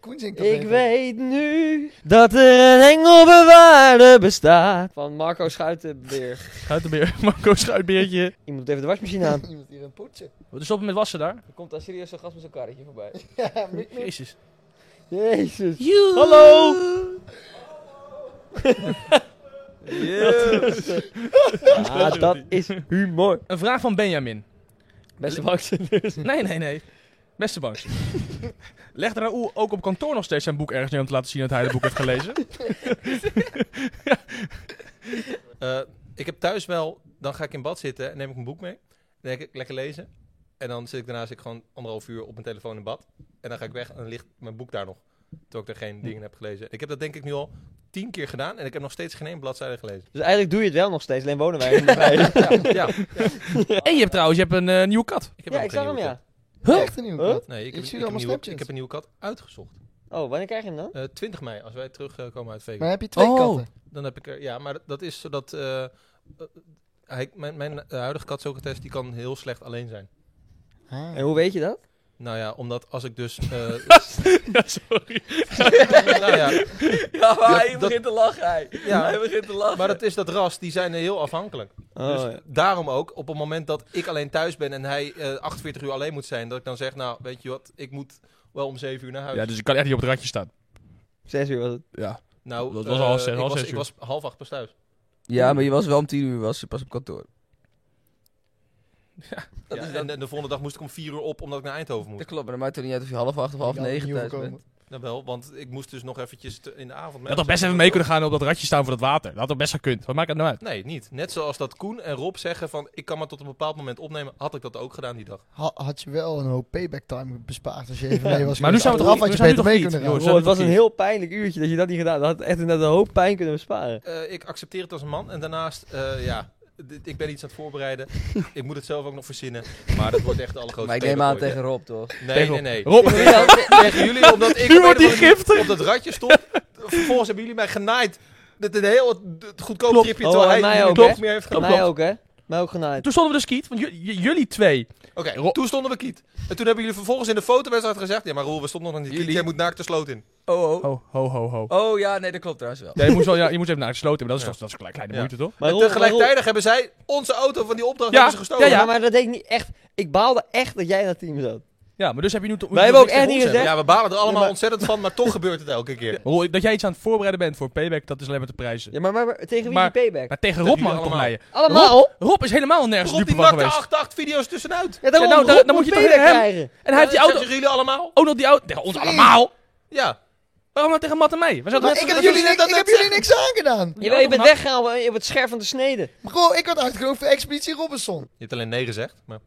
S5: Koen zingt dat
S2: Ik
S5: even.
S2: weet nu dat er een engelbewaarde bestaat. Van Marco Schuitenberg.
S1: Schuitenbeer. Marco Schuitbeertje.
S2: Je moet even de wasmachine aan.
S5: Iemand hier een poetsen.
S1: We stoppen met wassen daar.
S2: Er komt daar serieus zo'n gast met zo'n karretje voorbij.
S5: Ja, mik, mik.
S1: Jezus.
S2: Jezus.
S1: Hallo!
S2: Ah, dat is humor.
S1: Een vraag van Benjamin.
S2: Beste bankzitters.
S1: Nee, nee, nee. Beste bank. Legt Raoul ook op kantoor nog steeds zijn boek ergens neer om te laten zien dat hij het boek heeft gelezen?
S7: Eh, ik heb thuis wel, dan ga ik in bad zitten en neem ik een boek mee. Dan denk ik lekker lezen. En dan zit ik daarna zit ik gewoon anderhalf uur op mijn telefoon in bad. En dan ga ik weg en dan ligt mijn boek daar nog. Terwijl ik er geen dingen heb gelezen. Ik heb dat denk ik nu al tien keer gedaan en ik heb nog steeds geen één bladzijde gelezen.
S2: Dus eigenlijk doe je het wel nog steeds, alleen wonen wij er niet bij.
S7: Ja, ja.
S1: En je hebt trouwens je hebt een eh, nieuwe kat.
S7: Ik heb
S2: ja,
S7: nog
S2: ik
S7: geen
S2: zag hem
S7: nieuwe
S2: ja.
S7: kat.
S5: Echt een nieuwe
S2: Huh?
S5: kat.
S7: Nee, ik,
S5: Ik
S7: heb,
S5: zie
S7: ik, heb
S5: allemaal
S7: een nieuwe, ik
S5: Snapchats.
S7: heb een nieuwe kat uitgezocht.
S2: Oh, wanneer krijg je hem dan?
S7: Eh 20 mei, als wij terugkomen komen uit Vegas.
S5: Maar heb je twee
S1: Oh.
S5: katten?
S7: Dan heb ik er, ja, maar dat is zodat... eh, eh, hij, mijn mijn eh, huidige kat, Socrates, die kan heel slecht alleen zijn.
S2: En hoe weet je dat?
S7: Nou ja, omdat als ik dus... eh,
S1: Ja, sorry.
S7: nou ja,
S3: Ja, maar hij
S7: dat-
S3: begint te lachen, hij.
S7: Ja.
S3: Hij begint te lachen.
S7: Maar dat is dat ras, die zijn heel afhankelijk. dus
S2: Oh, ja.
S7: daarom ook, op het moment dat ik alleen thuis ben en hij eh, 48 uur alleen moet zijn, dat ik dan zeg, nou, weet je wat, ik moet wel om 7 uur naar huis.
S1: Ja, dus ik kan echt niet op het randje staan.
S2: Zes uur was het.
S1: Ja.
S7: nou,
S1: dat was
S7: eh,
S1: half zes-
S7: ik,
S1: half
S7: was,
S1: zes
S7: ik was half acht pas thuis.
S3: Ja, maar je was wel om tien uur was je pas op kantoor.
S7: Ja, en, en de volgende dag moest ik om 4 uur op, omdat ik naar Eindhoven
S3: Dat
S7: moest.
S3: klopt, maar dan maakt het niet uit of je half acht of half
S5: Ik had
S3: negen
S5: opnieuw
S3: thuis
S5: gekomen.
S3: bent.
S7: Nou wel, want ik moest dus nog eventjes te- in de avond...
S1: Je had toch best even mee kunnen gaan op dat randje staan voor dat water. Dat had toch best gekund. Wat maakt het nou uit?
S7: Nee, niet. Net zoals dat Koen en Rob zeggen van, ik kan maar tot een bepaald moment opnemen, had ik dat ook gedaan die dag.
S5: Ha- had je wel een hoop payback time bespaard als je even mee was
S1: Maar nu
S5: geweest.
S1: zijn we toch
S5: Achteraf
S1: niet-
S5: had
S1: we
S5: je
S1: zijn nu
S5: beter
S1: toch
S5: mee
S1: niet,
S5: kunnen
S1: jongens.
S5: gaan.
S2: Oh, het was een heel pijnlijk uurtje dat je dat niet gedaan had. Dat had echt inderdaad een hoop pijn kunnen besparen.
S7: Eh, ik accepteer het als een man. En daarnaast, eh, ja, dit- ik ben iets aan het voorbereiden. ik moet het zelf ook nog verzinnen. Maar dat wordt echt de allergrootste
S3: Maar ik neem aan
S7: playboy.
S3: tegen Rob, toch?
S7: Nee, nee, nee.
S1: Rob,
S7: Tegen jullie, omdat ik
S1: nu
S7: op
S1: wordt
S7: een
S1: die
S7: of andere
S1: giftig.
S7: manier op dat radje stond. Vervolgens hebben jullie mij genaaid. Dit een heel het goedkoop
S1: Klopt.
S7: tripje,
S2: Oh,
S7: terwijl
S2: en
S7: hij
S2: mij
S7: jullie
S2: ook, hè?
S7: niks meer heeft gedaan.
S2: Mij ook, hè? Mij ook genaaid.
S1: Toen stonden we dus kiet, want j- j- jullie twee.
S7: Oké,
S1: Ro-
S7: toen stonden we kiet. En toen hebben jullie vervolgens in de fotowedstrijd gezegd... Ja, maar Roel, we stonden nog niet kiet.
S3: Jullie-
S7: Jij moet naakt de sloot in.
S3: Oh, oh.
S1: Oh, ho, ho, ho.
S3: Oh ja, nee, dat klopt trouwens wel.
S1: Ja, je, moest wel, ja, je moest even naar de sloot hebben. Dat is
S7: Ja.
S1: toch dat is een kleine, kleine
S7: Ja.
S1: moeite, toch?
S2: Maar
S7: en
S2: Roel- maar Roel-
S7: tegelijkertijd hebben zij onze auto van die opdracht
S1: Ja,
S7: hebben ze gestolen.
S1: Oh, ja, ja.
S2: Ja, maar dat deed ik niet echt. Ik baalde echt dat jij in dat team zat.
S1: Ja, maar dus heb je nu toch...
S2: Wij hebben ook echt niet
S1: gezegd.
S2: gezegd-
S7: Ja, we balen er allemaal
S2: Ja, maar-
S7: ontzettend van, maar toch gebeurt het elke keer.
S1: Roel, dat jij iets aan het voorbereiden bent voor payback, dat is alleen maar te prijzen.
S2: Ja, maar, maar, maar tegen wie
S1: Maar-
S2: die payback?
S1: Maar tegen
S7: Dat
S1: Rob mag
S7: jullie
S1: ik toch
S7: allemaal.
S1: leiden.
S2: Allemaal?
S1: Rob is helemaal nergens
S7: Rob,
S1: dupe
S7: die
S1: van
S7: nakte
S1: geweest.
S7: 8-8 video's tussenuit.
S2: Ja, daarom,
S1: Ja, nou, dan-
S2: Rob
S1: dan moet je toch
S2: payback
S1: tegen hem?
S2: krijgen.
S1: En hij heeft die
S7: Oh, Dat
S1: auto...
S7: zeggen jullie allemaal?
S1: Ook nog die auto... Tegen ons allemaal?
S7: Ja.
S1: Waarom nou tegen Matt en mij? We zaten
S5: Maar
S1: net-
S5: ik heb
S7: dat
S5: jullie,
S7: jullie
S5: ik,
S7: dat
S5: ik
S7: net
S5: heb jullie niks aangedaan.
S2: Je, weet, je bent
S1: maar-
S2: weggehaald op- op het scherf van de snede.
S5: Bro, ik werd uitgenodigd voor Expeditie Robinson.
S7: Je hebt alleen nee gezegd, maar...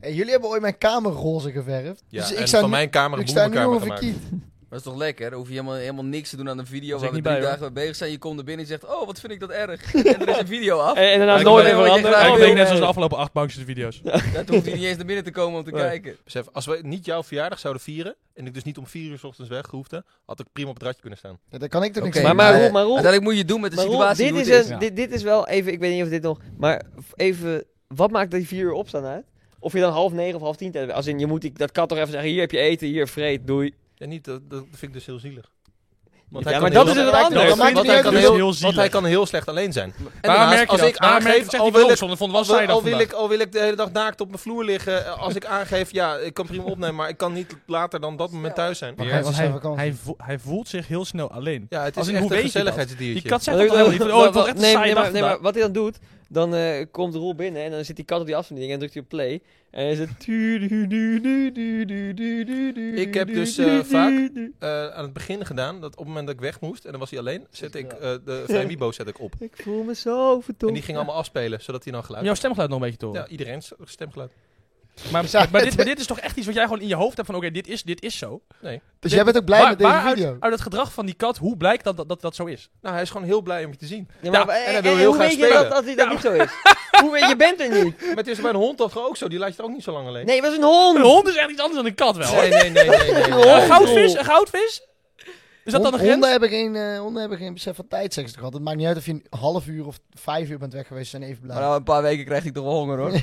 S5: En jullie hebben ooit mijn kamer roze geverfd.
S7: Ja,
S5: dus ik
S7: en
S5: sta
S7: van
S5: nu,
S7: mijn kamer een
S5: ik sta nu
S7: boerenkamer te
S5: over
S7: maken.
S5: kiet.
S3: Dat is toch lekker? Dan hoef je helemaal, helemaal niks te doen aan de video
S1: Daar
S3: waar
S1: zit
S3: we
S1: ik
S3: drie
S1: niet bij,
S3: dagen mee bezig zijn. Je komt er binnen en je zegt, oh, wat vind ik dat erg. en er is een video af.
S2: En, en daarna
S7: Ja, ik
S2: nooit
S7: weet
S2: meer
S3: wat je
S2: veranderen.
S3: graag
S1: Ja,
S3: wil.
S1: Oh, ik denk net zoals de
S2: Nee.
S1: afgelopen acht bankjes video's.
S3: Ja, toen hoef je niet eens naar binnen te komen om te
S1: Nee.
S3: kijken.
S7: Besef, als we niet jouw verjaardag zouden vieren en ik dus niet om vier uur 's ochtends weg hoefde, had ik prima op het ratje kunnen staan.
S5: Ja, daar kan ik toch niks
S3: Oké,
S5: aan
S2: Maar, maar,
S5: doen.
S2: Roel, maar, Roel,
S3: Uiteindelijk moet je het doen met de
S2: maar Roel,
S3: situatie
S2: dit,
S3: hoe
S2: is
S3: het is.
S2: een- dit, dit is wel even, ik weet niet of dit nog, maar f- even, wat maakt dat die vier uur opstaan uit? Of je dan half negen of half tien tijd, als in, je moet, die- dat kan toch even zeggen, hier heb je eten, hier vreet, doei.
S7: En niet, dat, dat vind ik dus heel zielig. Want
S2: Ja,
S7: hij
S2: maar
S7: kan
S2: dat
S7: heel-
S2: is het
S5: Nee,
S2: andere.
S5: dat
S2: Dan
S5: maakt
S7: want,
S5: het
S7: hij
S5: niet
S7: kan
S5: uit.
S1: heel
S7: heel, want
S1: zielig.
S7: hij kan heel slecht alleen zijn. En
S1: Waar
S7: daarnaast,
S1: merk je
S7: als
S1: dat?
S7: ik
S1: Waar merk je-
S7: aangeef,
S1: zegt
S7: al
S1: die
S7: wil, ik,
S1: Wilson, van
S7: al,
S1: was zij
S7: wil,
S1: dat
S7: al, wil
S1: vandaag?
S7: ik, al wil ik de hele dag naakt op mijn vloer liggen, eh, als ik aangeef, ja, ik kan prima opnemen, maar ik kan niet later dan dat moment thuis zijn.
S5: Maar
S1: Hij, want hij,
S5: Zijn vakantie.
S1: hij, voelt, hij voelt zich heel snel alleen.
S7: Ja, het
S1: Als
S7: is
S1: in,
S7: echt
S1: hoe
S7: een
S1: weet je dat?
S7: gezelligheidsdiertje.
S1: Die kat zegt
S2: Wat
S1: dat
S2: ik-
S1: al heel lief. Oh, het was echt een
S2: nee, nee,
S1: saaie dag
S2: maar, nee, maar
S1: vandaag.
S2: wat hij dan doet, dan eh, komt Roel binnen en dan zit die kat op die afstandsbediening en drukt hij op play. En dan is het...
S7: Ik heb dus, eh, vaak- eh, aan het begin gedaan, dat op het moment dat ik weg moest en dan was hij alleen, zet ik eh, de Vrijmibo zet ik op.
S2: Ik voel me zo
S7: En die
S2: verdomd.
S7: ging allemaal afspelen, zodat hij dan geluid.
S1: Jouw stemgeluid nog een beetje te horen.
S7: Ja, iedereen's stemgeluid.
S1: Maar, maar, dit, maar dit is toch echt iets wat jij gewoon in je hoofd hebt van oké, dit, is, dit is zo.
S5: Dus jij bent ook blij
S1: Waar-
S5: met deze
S1: waaruit-
S5: video.
S1: Uit het gedrag van die kat, hoe blijkt dat dat, dat, dat zo is?
S7: Nou, hij is gewoon heel blij om je te zien.
S2: Ja,
S1: Ja,
S2: maar,
S7: en
S2: en,
S7: hij wil
S2: en
S7: heel
S2: hoe
S7: graag
S2: weet je dat,
S7: spelen.
S2: dat hij- dat niet zo is? hoe weet je, je bent er niet.
S7: Maar het is bij een hond toch ook zo, die laat je het ook niet zo lang alleen.
S2: Nee, het was een hond.
S1: Een hond is echt iets anders dan een kat wel. hoor.
S7: nee, nee, nee. nee, nee, nee.
S1: Een goudvis? Een goudvis? Is dat dan een
S5: Hond-
S1: grens?
S5: honden, hebben geen, eh, honden hebben geen besef van tijd, zeggen ze toch altijd. Het maakt niet uit of je een half uur of vijf uur bent weg geweest, ze zijn even blij.
S3: Maar Nou, na een paar weken krijg ik toch wel honger hoor.
S2: Ja,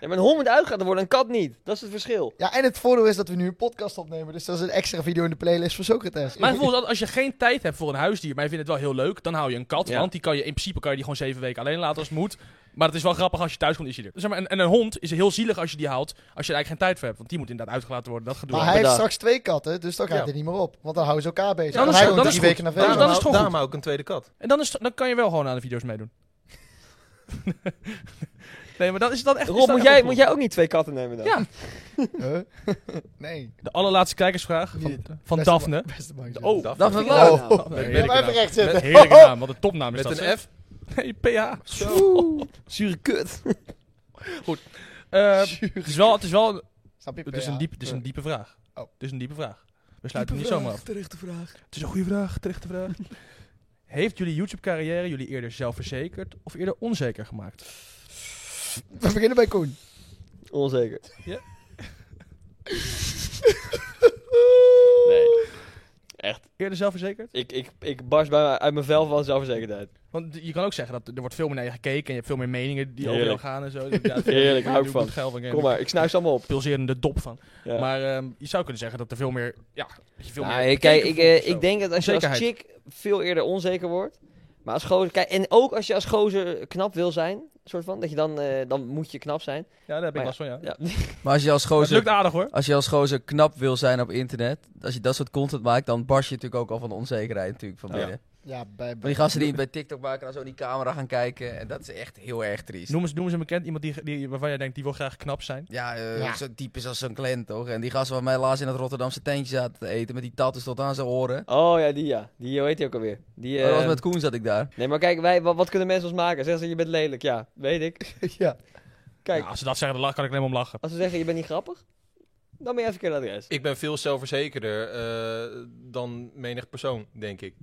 S2: maar een hond moet uitgelaten worden, een kat niet. Dat is het verschil.
S5: Ja, en het voordeel is dat we nu een podcast opnemen, dus dat is een extra video in de playlist voor Socrates.
S1: Maar bijvoorbeeld als je geen tijd hebt voor een huisdier, maar je vindt het wel heel leuk, dan hou je een kat.
S2: Ja.
S1: Want die kan je in principe kan je die gewoon zeven weken alleen laten als het moet. Maar het is wel grappig als je thuis komt, is hij er. Zeg maar, en, en een hond is heel zielig als je die haalt, als je er eigenlijk geen tijd voor hebt. Want die moet inderdaad uitgelaten worden, dat gedoe.
S5: maar hij heeft
S2: Bedankt.
S5: straks twee katten, dus dan gaat
S7: Ja.
S5: hij niet meer op. Want dan houden ze elkaar bezig.
S1: Ja, dan
S5: dan
S1: is-
S5: hij gewoon
S1: dan
S5: drie
S1: is
S5: weken naar
S1: Dan-
S5: verder.
S1: dan is het
S7: hou-
S1: gewoon
S7: daarom hou ik een tweede kat.
S1: En dan, is, dan kan je wel gewoon aan de video's meedoen. nee, maar dat is dan echt... is
S2: Rob,
S1: dat
S2: moet
S1: echt
S2: jij,
S1: wel
S2: moet
S1: cool.
S2: jij ook niet twee katten nemen dan?
S1: Ja.
S5: Huh? nee.
S1: De allerlaatste kijkersvraag van,
S5: Niet.
S1: van
S5: Beste
S1: Daphne.
S5: ma- Beste man.
S1: Oh,
S7: Daphne.
S3: Dat vind ik
S5: Oh,
S3: leuk.
S2: Nou.
S1: Nee, heerlijke
S5: Blijf even Oh!
S1: naam.
S5: recht zitten.
S1: Heerlijke naam, wat een topnaam is
S7: Met
S1: dat.
S7: een F.
S1: F? Nee, PH.
S2: Zure kut.
S1: Eh, het is wel, het is wel een-
S5: Snap je?
S1: het is
S5: PH?
S1: een, diep, het is een diepe vraag.
S5: Oh.
S1: Het is een diepe vraag. We sluiten hem niet zomaar af. Het is een goede vraag, terechte vraag. Heeft jullie YouTube-carrière jullie eerder zelfverzekerd of eerder onzeker gemaakt?
S5: We beginnen bij Koen.
S2: Onzeker.
S1: Ja.
S2: nee,
S1: Eerder zelfverzekerd?
S2: ik, ik, ik barst bijna uit mijn vel van zelfverzekerdheid.
S1: Want je kan ook zeggen dat er wordt veel meer naar je gekeken en je hebt veel meer meningen die over
S2: Heerlijk.
S1: jou gaan en zo. Ja, dat-
S2: Heerlijk, hou ik
S1: doe
S2: van.
S1: het geil van.
S2: Kom maar, ik snuif ze allemaal op.
S1: Pulserende dop van.
S2: Ja.
S1: Maar ehm, je zou kunnen zeggen dat er veel meer. Ja, dat je veel
S2: Nou,
S1: meer.
S2: ik- kijk,
S1: gekeken voelt
S2: ik, eh,
S1: of zo.
S2: ik denk dat als je als
S1: Onzekerheid.
S2: chick veel eerder onzeker wordt. Maar als gozer, kijk, en ook als je als gozer knap wil zijn, soort van, dat je dan, eh, dan moet je knap zijn.
S1: Ja, daar heb ik
S2: Maar
S1: last van, ja.
S2: Oh Ja. Oh,
S3: Maar als je als
S1: Maar Het lukt
S3: gozer,
S1: aardig hoor.
S3: als je als gozer knap wil zijn op internet, als je dat soort content maakt, dan barst je natuurlijk ook al van de onzekerheid natuurlijk van
S2: Ja.
S3: binnen.
S5: Ja, bij,
S3: Van die gasten die het bij TikTok maken en dan zo in die camera gaan kijken. En dat is echt heel erg triest.
S1: Noem eens, noem eens een bekend iemand die, die, waarvan jij denkt die wil graag knap zijn.
S3: Ja, eh,
S5: Ja.
S3: zo diep is als zo'n Glenn, toch? En die gast waar mij laatst in het Rotterdamse tentje zaten te eten met die tattoos tot aan zijn oren.
S2: Oh ja, die ja. Die, hoe heet die ook alweer? Die,
S3: Maar dat
S2: eh,
S3: was met Koen zat ik daar.
S2: Nee, maar kijk, wij, wat, wat kunnen mensen ons maken? Zeggen ze, je bent lelijk. Ja, weet ik.
S5: ja.
S2: Kijk,
S1: Nou, als ze dat zeggen, dan lach- kan ik alleen maar om lachen.
S2: als ze zeggen, je bent niet grappig, dan ben je even verkeerd adres.
S7: Ik ben veel zelfverzekerder eh, dan menig persoon, denk ik.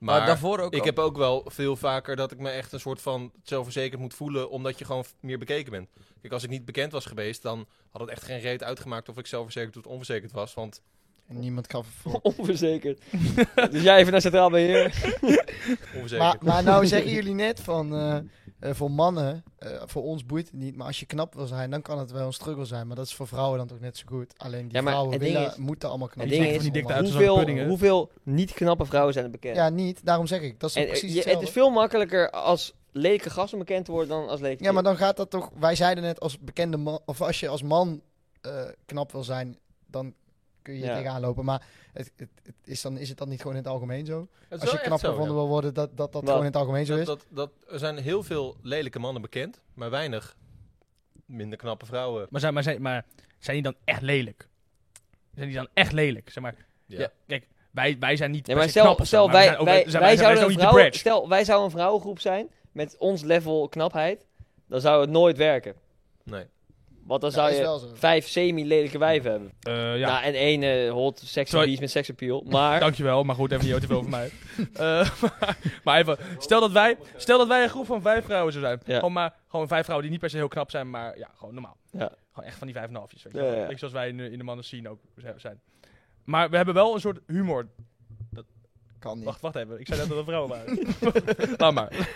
S3: Maar,
S7: Maar,
S3: daarvoor ook.
S7: ik
S3: al.
S7: heb ook wel veel vaker dat ik me echt een soort van zelfverzekerd moet voelen, omdat je gewoon f- meer bekeken bent. Kijk, als ik niet bekend was geweest, dan had het echt geen reet uitgemaakt of ik zelfverzekerd of onverzekerd was. Want
S5: En niemand kan vervolgen.
S2: Onverzekerd. dus jij even naar Centraal Beheer.
S7: onverzekerd.
S5: Maar, maar nou zeggen jullie net van, eh, eh, voor mannen, eh, voor ons boeit het niet, maar als je knap wil zijn, dan kan het wel een struggle zijn. Maar dat is voor vrouwen dan toch net zo goed. Alleen die
S2: Ja, maar
S5: vrouwen
S2: het ding
S5: willen,
S2: is-
S5: moeten allemaal knap
S2: het
S5: zijn.
S2: ding
S5: voor
S1: is-
S5: die mannen.
S1: uit als een pudding,
S2: Hoeveel,
S1: hè?
S2: hoeveel niet knappe vrouwen zijn er bekend?
S5: Ja, niet. Daarom zeg ik. Dat is toch
S2: En, eh,
S5: precies
S2: je- het is
S5: hetzelfde.
S2: veel makkelijker als lelijke gast om bekend te worden dan als lelijke
S5: Ja, maar
S2: chick.
S5: dan gaat dat toch... Wij zeiden net, als bekende man... Of als je als man eh, knap wil zijn, dan kun je
S2: Ja.
S5: er tegenaan lopen. Maar het, het, het is, dan, is het dan niet gewoon in het algemeen zo?
S7: Het is
S5: Als
S7: wel
S5: je
S7: echt
S5: knap
S7: zo,
S5: gevonden
S7: ja.
S5: wil worden, dat dat, dat
S2: Wat?
S5: gewoon in het algemeen zo
S7: dat,
S5: is?
S7: dat, dat, er zijn heel veel lelijke mannen bekend, maar weinig minder knappe vrouwen.
S1: Maar zijn, maar, zijn, maar zijn die dan echt lelijk? Zijn die dan echt lelijk? Zeg maar,
S7: Ja.
S1: ja, kijk, wij, wij zijn niet.
S2: Nee,
S1: per
S2: maar
S1: se
S2: stel,
S1: knap of zo,
S2: stel
S1: maar
S2: wij,
S1: zijn ook-
S2: wij,
S1: zijn- zijn-
S2: wij
S1: zijn
S2: zouden
S1: ook
S2: een
S1: niet de
S2: vrouw,
S1: bridge.
S2: stel, wij zouden een vrouwengroep zijn met ons level knapheid, dan zou het nooit werken.
S7: Nee.
S2: Want dan
S5: Ja,
S2: zou
S5: is
S2: je
S5: wel zo.
S2: vijf semi-lelijke wijven hebben.
S1: Eh, ja,
S2: Ja. en één eh, hot sexy
S1: Sorry.
S2: beast met seksappeal. Maar
S1: dankjewel. Maar goed, even niet heel te veel over mij. Eh, maar, maar even, stel dat, wij, stel dat wij een groep van vijf vrouwen zouden zijn.
S2: Ja.
S1: Gewoon, maar, gewoon vijf vrouwen die niet per se heel knap zijn, maar ja, gewoon normaal.
S2: Ja.
S1: Gewoon echt van die vijf en halfjes. Weet je
S2: Ja,
S1: wel.
S2: ja.
S1: Beetje Zoals wij in, de- in de mannen zien ook zijn. Maar we hebben wel een soort humor.
S5: Kan niet.
S1: Wacht, wacht even. Ik zei net dat het vrouwen waren. Laat maar.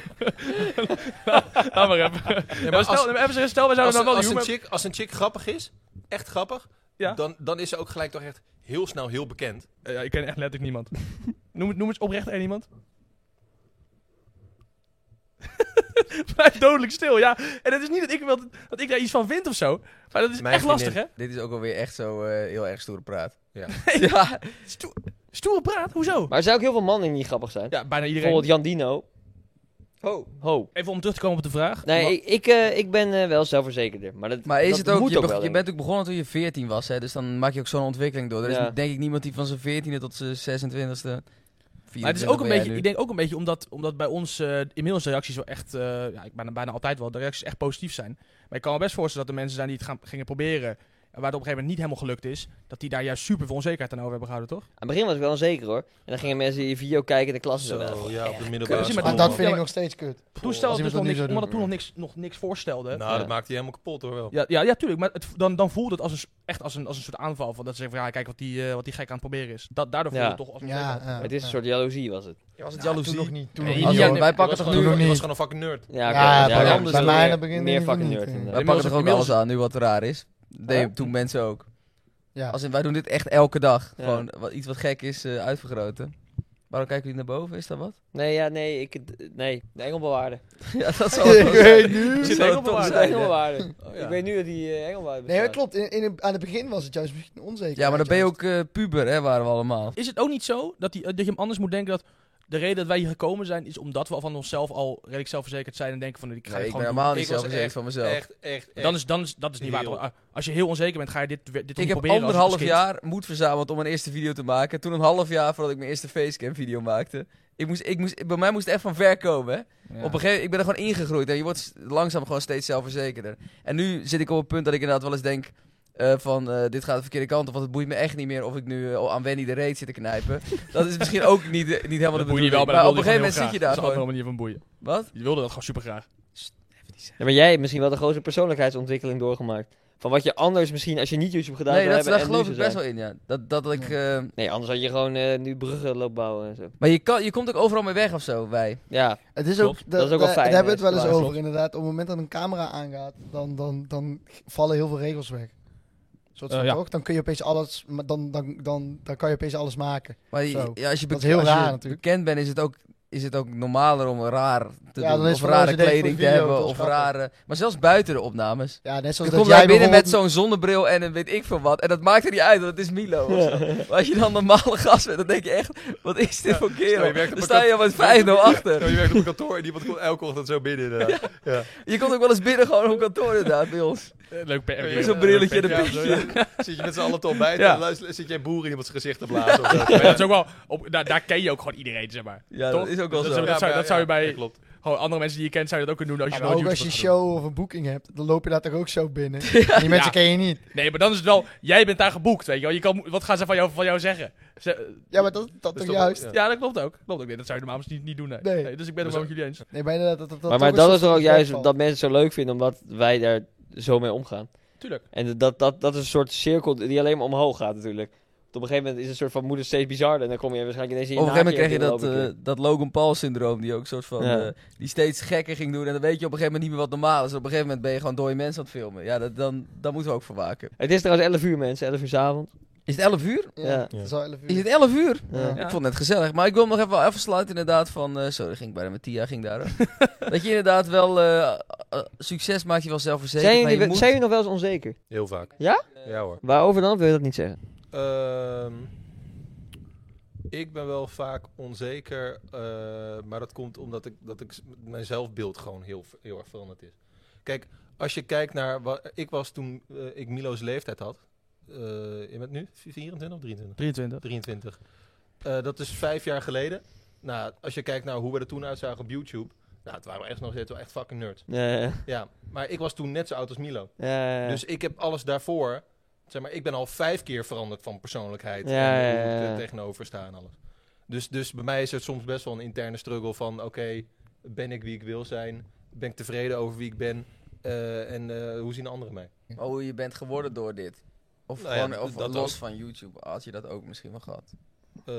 S1: Laat maar even.
S7: Ja,
S1: Maar
S7: maar als-
S1: stel, nee, maar even, zeggen, stel, wij zouden
S7: als,
S1: dan wel
S7: als
S1: die
S7: een
S1: humor...
S7: chick, als een chick grappig is, echt grappig,
S1: Ja.
S7: dan, dan is ze ook gelijk toch echt heel snel heel bekend.
S1: Eh, ja, ik ken echt letterlijk niemand. Noem, het- noem eens oprecht één iemand. Blijf dodelijk stil, ja. En het is niet dat ik, wel- dat ik daar iets van vind of zo. Maar dat is
S7: Mijn
S1: echt
S7: vriendin.
S1: lastig, hè?
S3: Dit is ook alweer echt zo eh, heel erg stoere praat.
S7: Ja.
S3: ja.
S1: Stoer, stoer praat, hoezo?
S2: Maar er zijn ook heel veel mannen die niet grappig zijn.
S1: Ja, bijna iedereen.
S2: Bijvoorbeeld Jan Dino.
S3: Oh.
S2: Ho.
S1: Even om terug te komen op de vraag.
S2: Nee,
S1: Maar-
S2: ik, ik, eh, ik ben eh, wel zelfverzekerder. Maar, dat,
S3: Maar is
S2: dat
S3: het ook,
S2: moet
S3: je, beg-
S2: wel,
S3: je
S2: denk
S3: bent ook begonnen toen je 14 was, hè? Dus dan maak je ook zo'n ontwikkeling door. Er is
S2: Ja.
S3: denk ik niemand die van zijn 14e tot zijn 26e.
S1: Maar het is ook een beetje, ik denk ook een beetje omdat, omdat bij ons eh, inmiddels de reacties wel echt, eh, ja, ik ben er bijna altijd wel, de reacties echt positief zijn. Maar ik kan me best voorstellen dat er mensen zijn die het gaan, gingen proberen, en waar het op een gegeven moment niet helemaal gelukt is, dat die daar juist super veel onzekerheid aan over hebben gehouden, toch?
S2: Aan het begin was ik wel onzeker hoor. En dan gingen mensen die video kijken in de klas en zo.
S7: Zo, ja, op de
S1: Ja,
S7: middelbare
S1: zie
S7: school.
S1: maar
S5: Maar
S1: man.
S5: dat vind
S1: Ja,
S5: ik
S1: maar-
S5: nog steeds kut.
S1: Toen stelde
S5: iemand
S1: dus
S5: dat
S1: nog
S5: nu
S1: niks,
S5: zou doen,
S1: omdat het toen nog
S5: ja.
S1: niks, nog niks voorstelde.
S7: Nou,
S2: Ja.
S7: dat maakt hij helemaal kapot hoor wel.
S1: Ja, ja, ja, tuurlijk. Maar het, dan, dan voelde het als een, s- echt als een, als een soort aanval. Van dat ze zeggen, van, ja, kijk wat die, eh, wat die gek aan het proberen is. Dat, daardoor voelde
S2: Ja.
S1: het toch als een
S5: Ja,
S1: onzekerheid.
S5: ja,
S2: Het is een
S5: ja.
S2: soort jaloezie was het.
S7: Was
S5: Ja,
S7: het
S5: Toen nog
S7: jaloezie?
S5: niet. Toen
S1: Nee,
S5: nog niet.
S1: ja,
S5: hoor.
S3: wij
S7: Hij
S3: pakken
S7: was
S3: toch
S7: gewoon-
S3: nu...
S5: Toen nog
S7: hij was
S5: niet.
S7: gewoon een fucking nerd.
S2: Ja, oké.
S5: Ja,
S2: ja,
S5: bij-
S2: ja,
S5: bij
S2: ja.
S5: mij aan het begin
S2: meer
S5: denk ik
S2: fucking
S5: niet,
S2: nerd
S5: ja.
S2: inderdaad.
S3: Wij
S1: Inmiddels-
S3: pakken toch ook
S1: inmiddels-
S3: alles aan, nu wat raar is.
S2: Huh?
S3: Nee, toen mensen ook.
S5: Ja.
S3: Als in, wij doen dit echt elke dag.
S2: Ja.
S3: Gewoon wat, iets wat gek is eh, uitvergroten. Waarom kijken jullie naar boven? Is dat wat?
S2: Nee, ja, nee, ik, eh, nee, de engelbewaarde.
S3: ja, dat zal
S5: Ik weet nu.
S3: Zit
S1: Engelbewaarde.
S3: toch
S2: De
S3: zijn, hè?
S2: engelbewaarde.
S3: Oh, ja.
S2: Ik weet nu dat die eh, engelbewaarde
S5: Nee,
S2: bestaat.
S5: dat klopt. In, in, aan het begin was het juist misschien onzeker.
S3: Ja, maar dan ben je ook eh, puber, hè, waren we allemaal.
S1: Is het ook niet zo dat, die, dat je hem anders moet denken dat de reden dat wij hier gekomen zijn, is omdat we al van onszelf al redelijk zelfverzekerd zijn en denken van ik ga
S3: Nee,
S1: dit
S3: ik
S1: gewoon
S3: ben helemaal
S1: doen.
S3: niet
S7: Ik was
S3: zelfverzekerd
S7: echt-
S3: van mezelf.
S7: Echt, echt, echt.
S1: Dan is, dan is, dat is niet waar.
S7: Heel.
S1: toch? Ah, Als je heel onzeker bent, ga je dit, weer- dit toch
S3: Ik
S1: niet
S3: heb
S1: proberen als
S3: anderhalf
S1: kind?
S3: jaar moed verzameld om een eerste video te maken. Toen een half jaar voordat ik mijn eerste facecam video maakte. Ik moest, ik moest, bij mij moest het echt van ver komen. Hè? Op een gegeven moment, ik ben er gewoon ingegroeid. En je wordt s- langzaam gewoon steeds zelfverzekerder. En nu zit ik op het punt dat ik inderdaad wel eens denk... eh, van eh, dit gaat de verkeerde kant op, want het boeit me echt niet meer of ik nu eh, aan Wendy de reet zit te knijpen. dat is misschien ook niet, eh, niet helemaal
S1: Dat
S3: de
S1: boeien je
S3: bedoeling.
S1: wel, maar,
S3: maar
S1: dat
S3: op een gegeven moment zit je daar
S1: Dat is een
S3: gewoon.
S1: andere manier van boeien.
S3: Wat?
S1: Je wilde dat gewoon super graag.
S2: Ja, maar jij hebt misschien wel de grootste persoonlijkheidsontwikkeling doorgemaakt. Van wat je anders misschien als je niet YouTube gedaan
S3: Nee,
S2: zou
S3: dat,
S2: hebben.
S3: daar
S2: en
S3: geloof
S2: nu
S3: ik
S2: zou
S3: best
S2: zijn.
S3: wel in, ja. Dat, dat ik... eh,
S2: Nee, anders had je gewoon eh, nu bruggen lopen bouwen en zo.
S3: maar je, kan, je komt ook overal mee weg of zo, wij.
S2: Ja,
S5: Het is
S1: Klopt.
S5: ook,
S2: Dat is ook wel
S5: daar-
S2: fijn,
S5: Daar hebben we
S2: eh,
S5: het wel eens
S2: klaar,
S5: over, inderdaad. Op het moment dat een camera aangaat, dan, dan, dan vallen heel veel regels weg. Soort van
S1: Eh, ja.
S5: toch? Dan kun je opeens alles, maar dan, dan, dan, dan kan je opeens alles maken.
S3: Maar je-
S5: Zo.
S3: ja, als je,
S5: Dat
S3: bek-
S5: is heel
S3: als
S5: raar
S3: je
S5: natuurlijk.
S3: bekend bent, is het, ook, is het ook normaler om raar te
S5: Ja, dan
S3: doen.
S5: is
S3: Of
S5: het van, oh,
S3: rare
S5: ze deed het voor
S3: kleding
S5: de
S3: te
S5: video,
S3: hebben.
S5: dat
S3: Of
S5: was grappig.
S3: rare... Maar zelfs buiten de opnames.
S5: Ja, net
S3: Dan
S5: zoals
S3: kom
S5: dat
S3: jij
S5: jij
S3: binnen met
S5: bijvoorbeeld...
S3: zo'n zonnebril en een weet ik veel wat. En dat maakt er niet uit, want het is Milo of zo. Maar als je dan normale gast bent, dan denk je echt... Wat is dit voor
S7: stel je
S3: kerel?
S7: werkt op
S3: Dan
S7: een
S3: sta je al met 5
S7: Ja,
S3: achter.
S7: je werkt op een kantoor en iemand komt elke ochtend zo binnen. inderdaad. Ja.
S3: Je komt ook wel eens binnen gewoon op kantoor inderdaad bij ons.
S1: Eh, Leuk per.
S7: Ja,
S3: Zo'n brilletje en een
S7: ja, zo,
S3: petje.
S7: ja. Zit je met z'n allen te ontbijten
S3: Ja.
S7: en luister, zit jij boer in iemands gezicht te blazen. of zo.
S1: Maar dat is ook wel, op, daar, daar ken je ook gewoon iedereen, zeg maar.
S3: Ja,
S1: Toch?
S3: dat is ook wel
S1: Dat
S3: zo.
S1: is- zou-
S7: maar
S1: zou je bij-
S7: ja, klopt.
S1: Gewoon andere mensen die je kent, zou je dat ook kunnen doen als je
S5: Ja,
S1: ja,
S5: maar ook als je een show of een boeking hebt, dan loop je daar toch ook zo binnen. Die mensen ken je niet.
S1: Nee, maar dan is het wel, jij bent daar geboekt, weet je wel. Je kan, wat gaan ze van jou, van jou zeggen? Ze-
S5: Ja, maar dat, dat toch
S7: toch-
S5: juist.
S7: ja.
S1: ja, dat klopt ook. Klopt ook. Nee, dat zou je normaal misschien niet, niet doen, nee.
S5: Nee.
S1: Nee, Dus ik ben het
S7: Maar
S1: wel met jullie eens.
S5: Nee, maar inderdaad, dat, dat, dat
S2: maar, maar
S5: toch een
S2: dat is
S5: soort
S2: toch ook
S5: van
S2: juist
S5: wegvalt.
S2: dat mensen het zo leuk vinden omdat wij daar zo mee omgaan.
S1: Tuurlijk.
S2: En dat, dat, dat is een soort cirkel die alleen maar omhoog gaat natuurlijk. Want op een gegeven moment is het een soort van moeder steeds bizarder. En dan kom je waarschijnlijk ineens in
S3: Op een gegeven moment kreeg je
S2: naakje
S3: dat, eh, dat Logan Paul syndroom, die ook een soort van
S2: Ja.
S3: eh, die steeds gekker ging doen. En dan weet je op een gegeven moment niet meer wat normaal is. Op een gegeven moment ben je gewoon dode mensen aan het filmen. Ja, dat, dan, dan moeten we ook voor waken.
S2: Het is trouwens 11 uur mensen, 11 uur 's avonds.
S3: Is het 11 uur?
S5: Ja,
S2: Ja.
S5: dat is wel elf uur.
S3: Is het 11 uur?
S2: Ja.
S3: Ik vond het net gezellig. Maar ik wil hem nog even wel afsluiten inderdaad van... eh sorry, ging ik bijna met Tia, ging daar. hoor. dat je inderdaad wel... eh, eh, succes maakt je wel zelfverzekerd.
S2: Zijn
S3: maar
S2: jullie,
S3: je moet-
S2: zijn jullie nog wel eens onzeker?
S7: Heel vaak.
S2: Ja?
S7: Ja hoor.
S2: Waarover dan? Wil je dat niet zeggen?
S7: Ehm, ik ben wel vaak onzeker, eh, maar dat komt omdat ik, dat ik s- mijn zelfbeeld gewoon heel, ver- heel erg veranderd is. Kijk, als je kijkt naar wat ik was toen eh, ik Milo's leeftijd had. eh, je bent nu 24 of 23?
S1: 23.
S7: 23. Eh, dat is vijf jaar geleden. Nou, als je kijkt naar hoe we er toen uitzagen op YouTube. Nou, het waren we echt nog steeds wel echt fucking nerds.
S2: Ja, ja,
S7: Ja, maar ik was toen net zo oud als Milo.
S2: ja, ja.
S7: Dus ik heb alles daarvoor. Zeg maar, ik ben al vijf keer veranderd van persoonlijkheid.
S2: Ja,
S7: en
S2: ja,
S7: hoe ik
S2: ja.
S7: er tegenover sta en alles. Dus, dus bij mij is het soms best wel een interne struggle van... Oké, ben ik wie ik wil zijn? Ben ik tevreden over wie ik ben? Eh, en eh, hoe zien anderen mij?
S3: Maar hoe Oh, je bent geworden door dit. Of,
S7: Nou ja,
S3: gewoon, of
S7: dat
S3: los
S7: ook.
S3: van YouTube. Had je dat ook misschien wel gehad.
S7: Eh,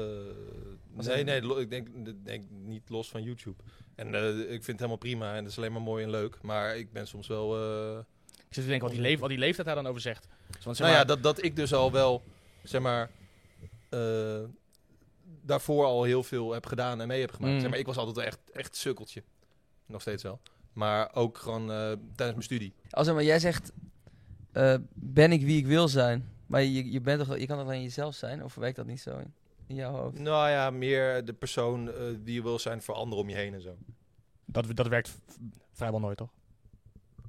S3: Was
S7: nee,
S3: dat-
S7: nee, lo- ik denk, ik denk niet los van YouTube. En eh, ik vind het helemaal prima en dat is alleen maar mooi en leuk. Maar ik ben soms wel... eh,
S1: Ik zit te denken wat die, leef, wat die leeftijd daar dan over zegt. Dus want, zeg
S7: nou ja,
S1: maar,
S7: dat, dat ik dus al wel, zeg maar, eh, daarvoor al heel veel heb gedaan en mee heb gemaakt.
S1: Mm.
S7: Zeg maar, ik was altijd wel echt, echt sukkeltje. Nog steeds wel. Maar ook gewoon eh, tijdens mijn studie.
S3: Als maar jij zegt, eh, ben ik wie ik wil zijn? Maar je, je, bent toch, je kan toch alleen jezelf zijn? Of werkt dat niet zo in, in jouw hoofd?
S7: Nou ja, meer de persoon eh, die je wil zijn voor anderen om je heen en zo.
S1: Dat, dat werkt v- vrijwel nooit, toch?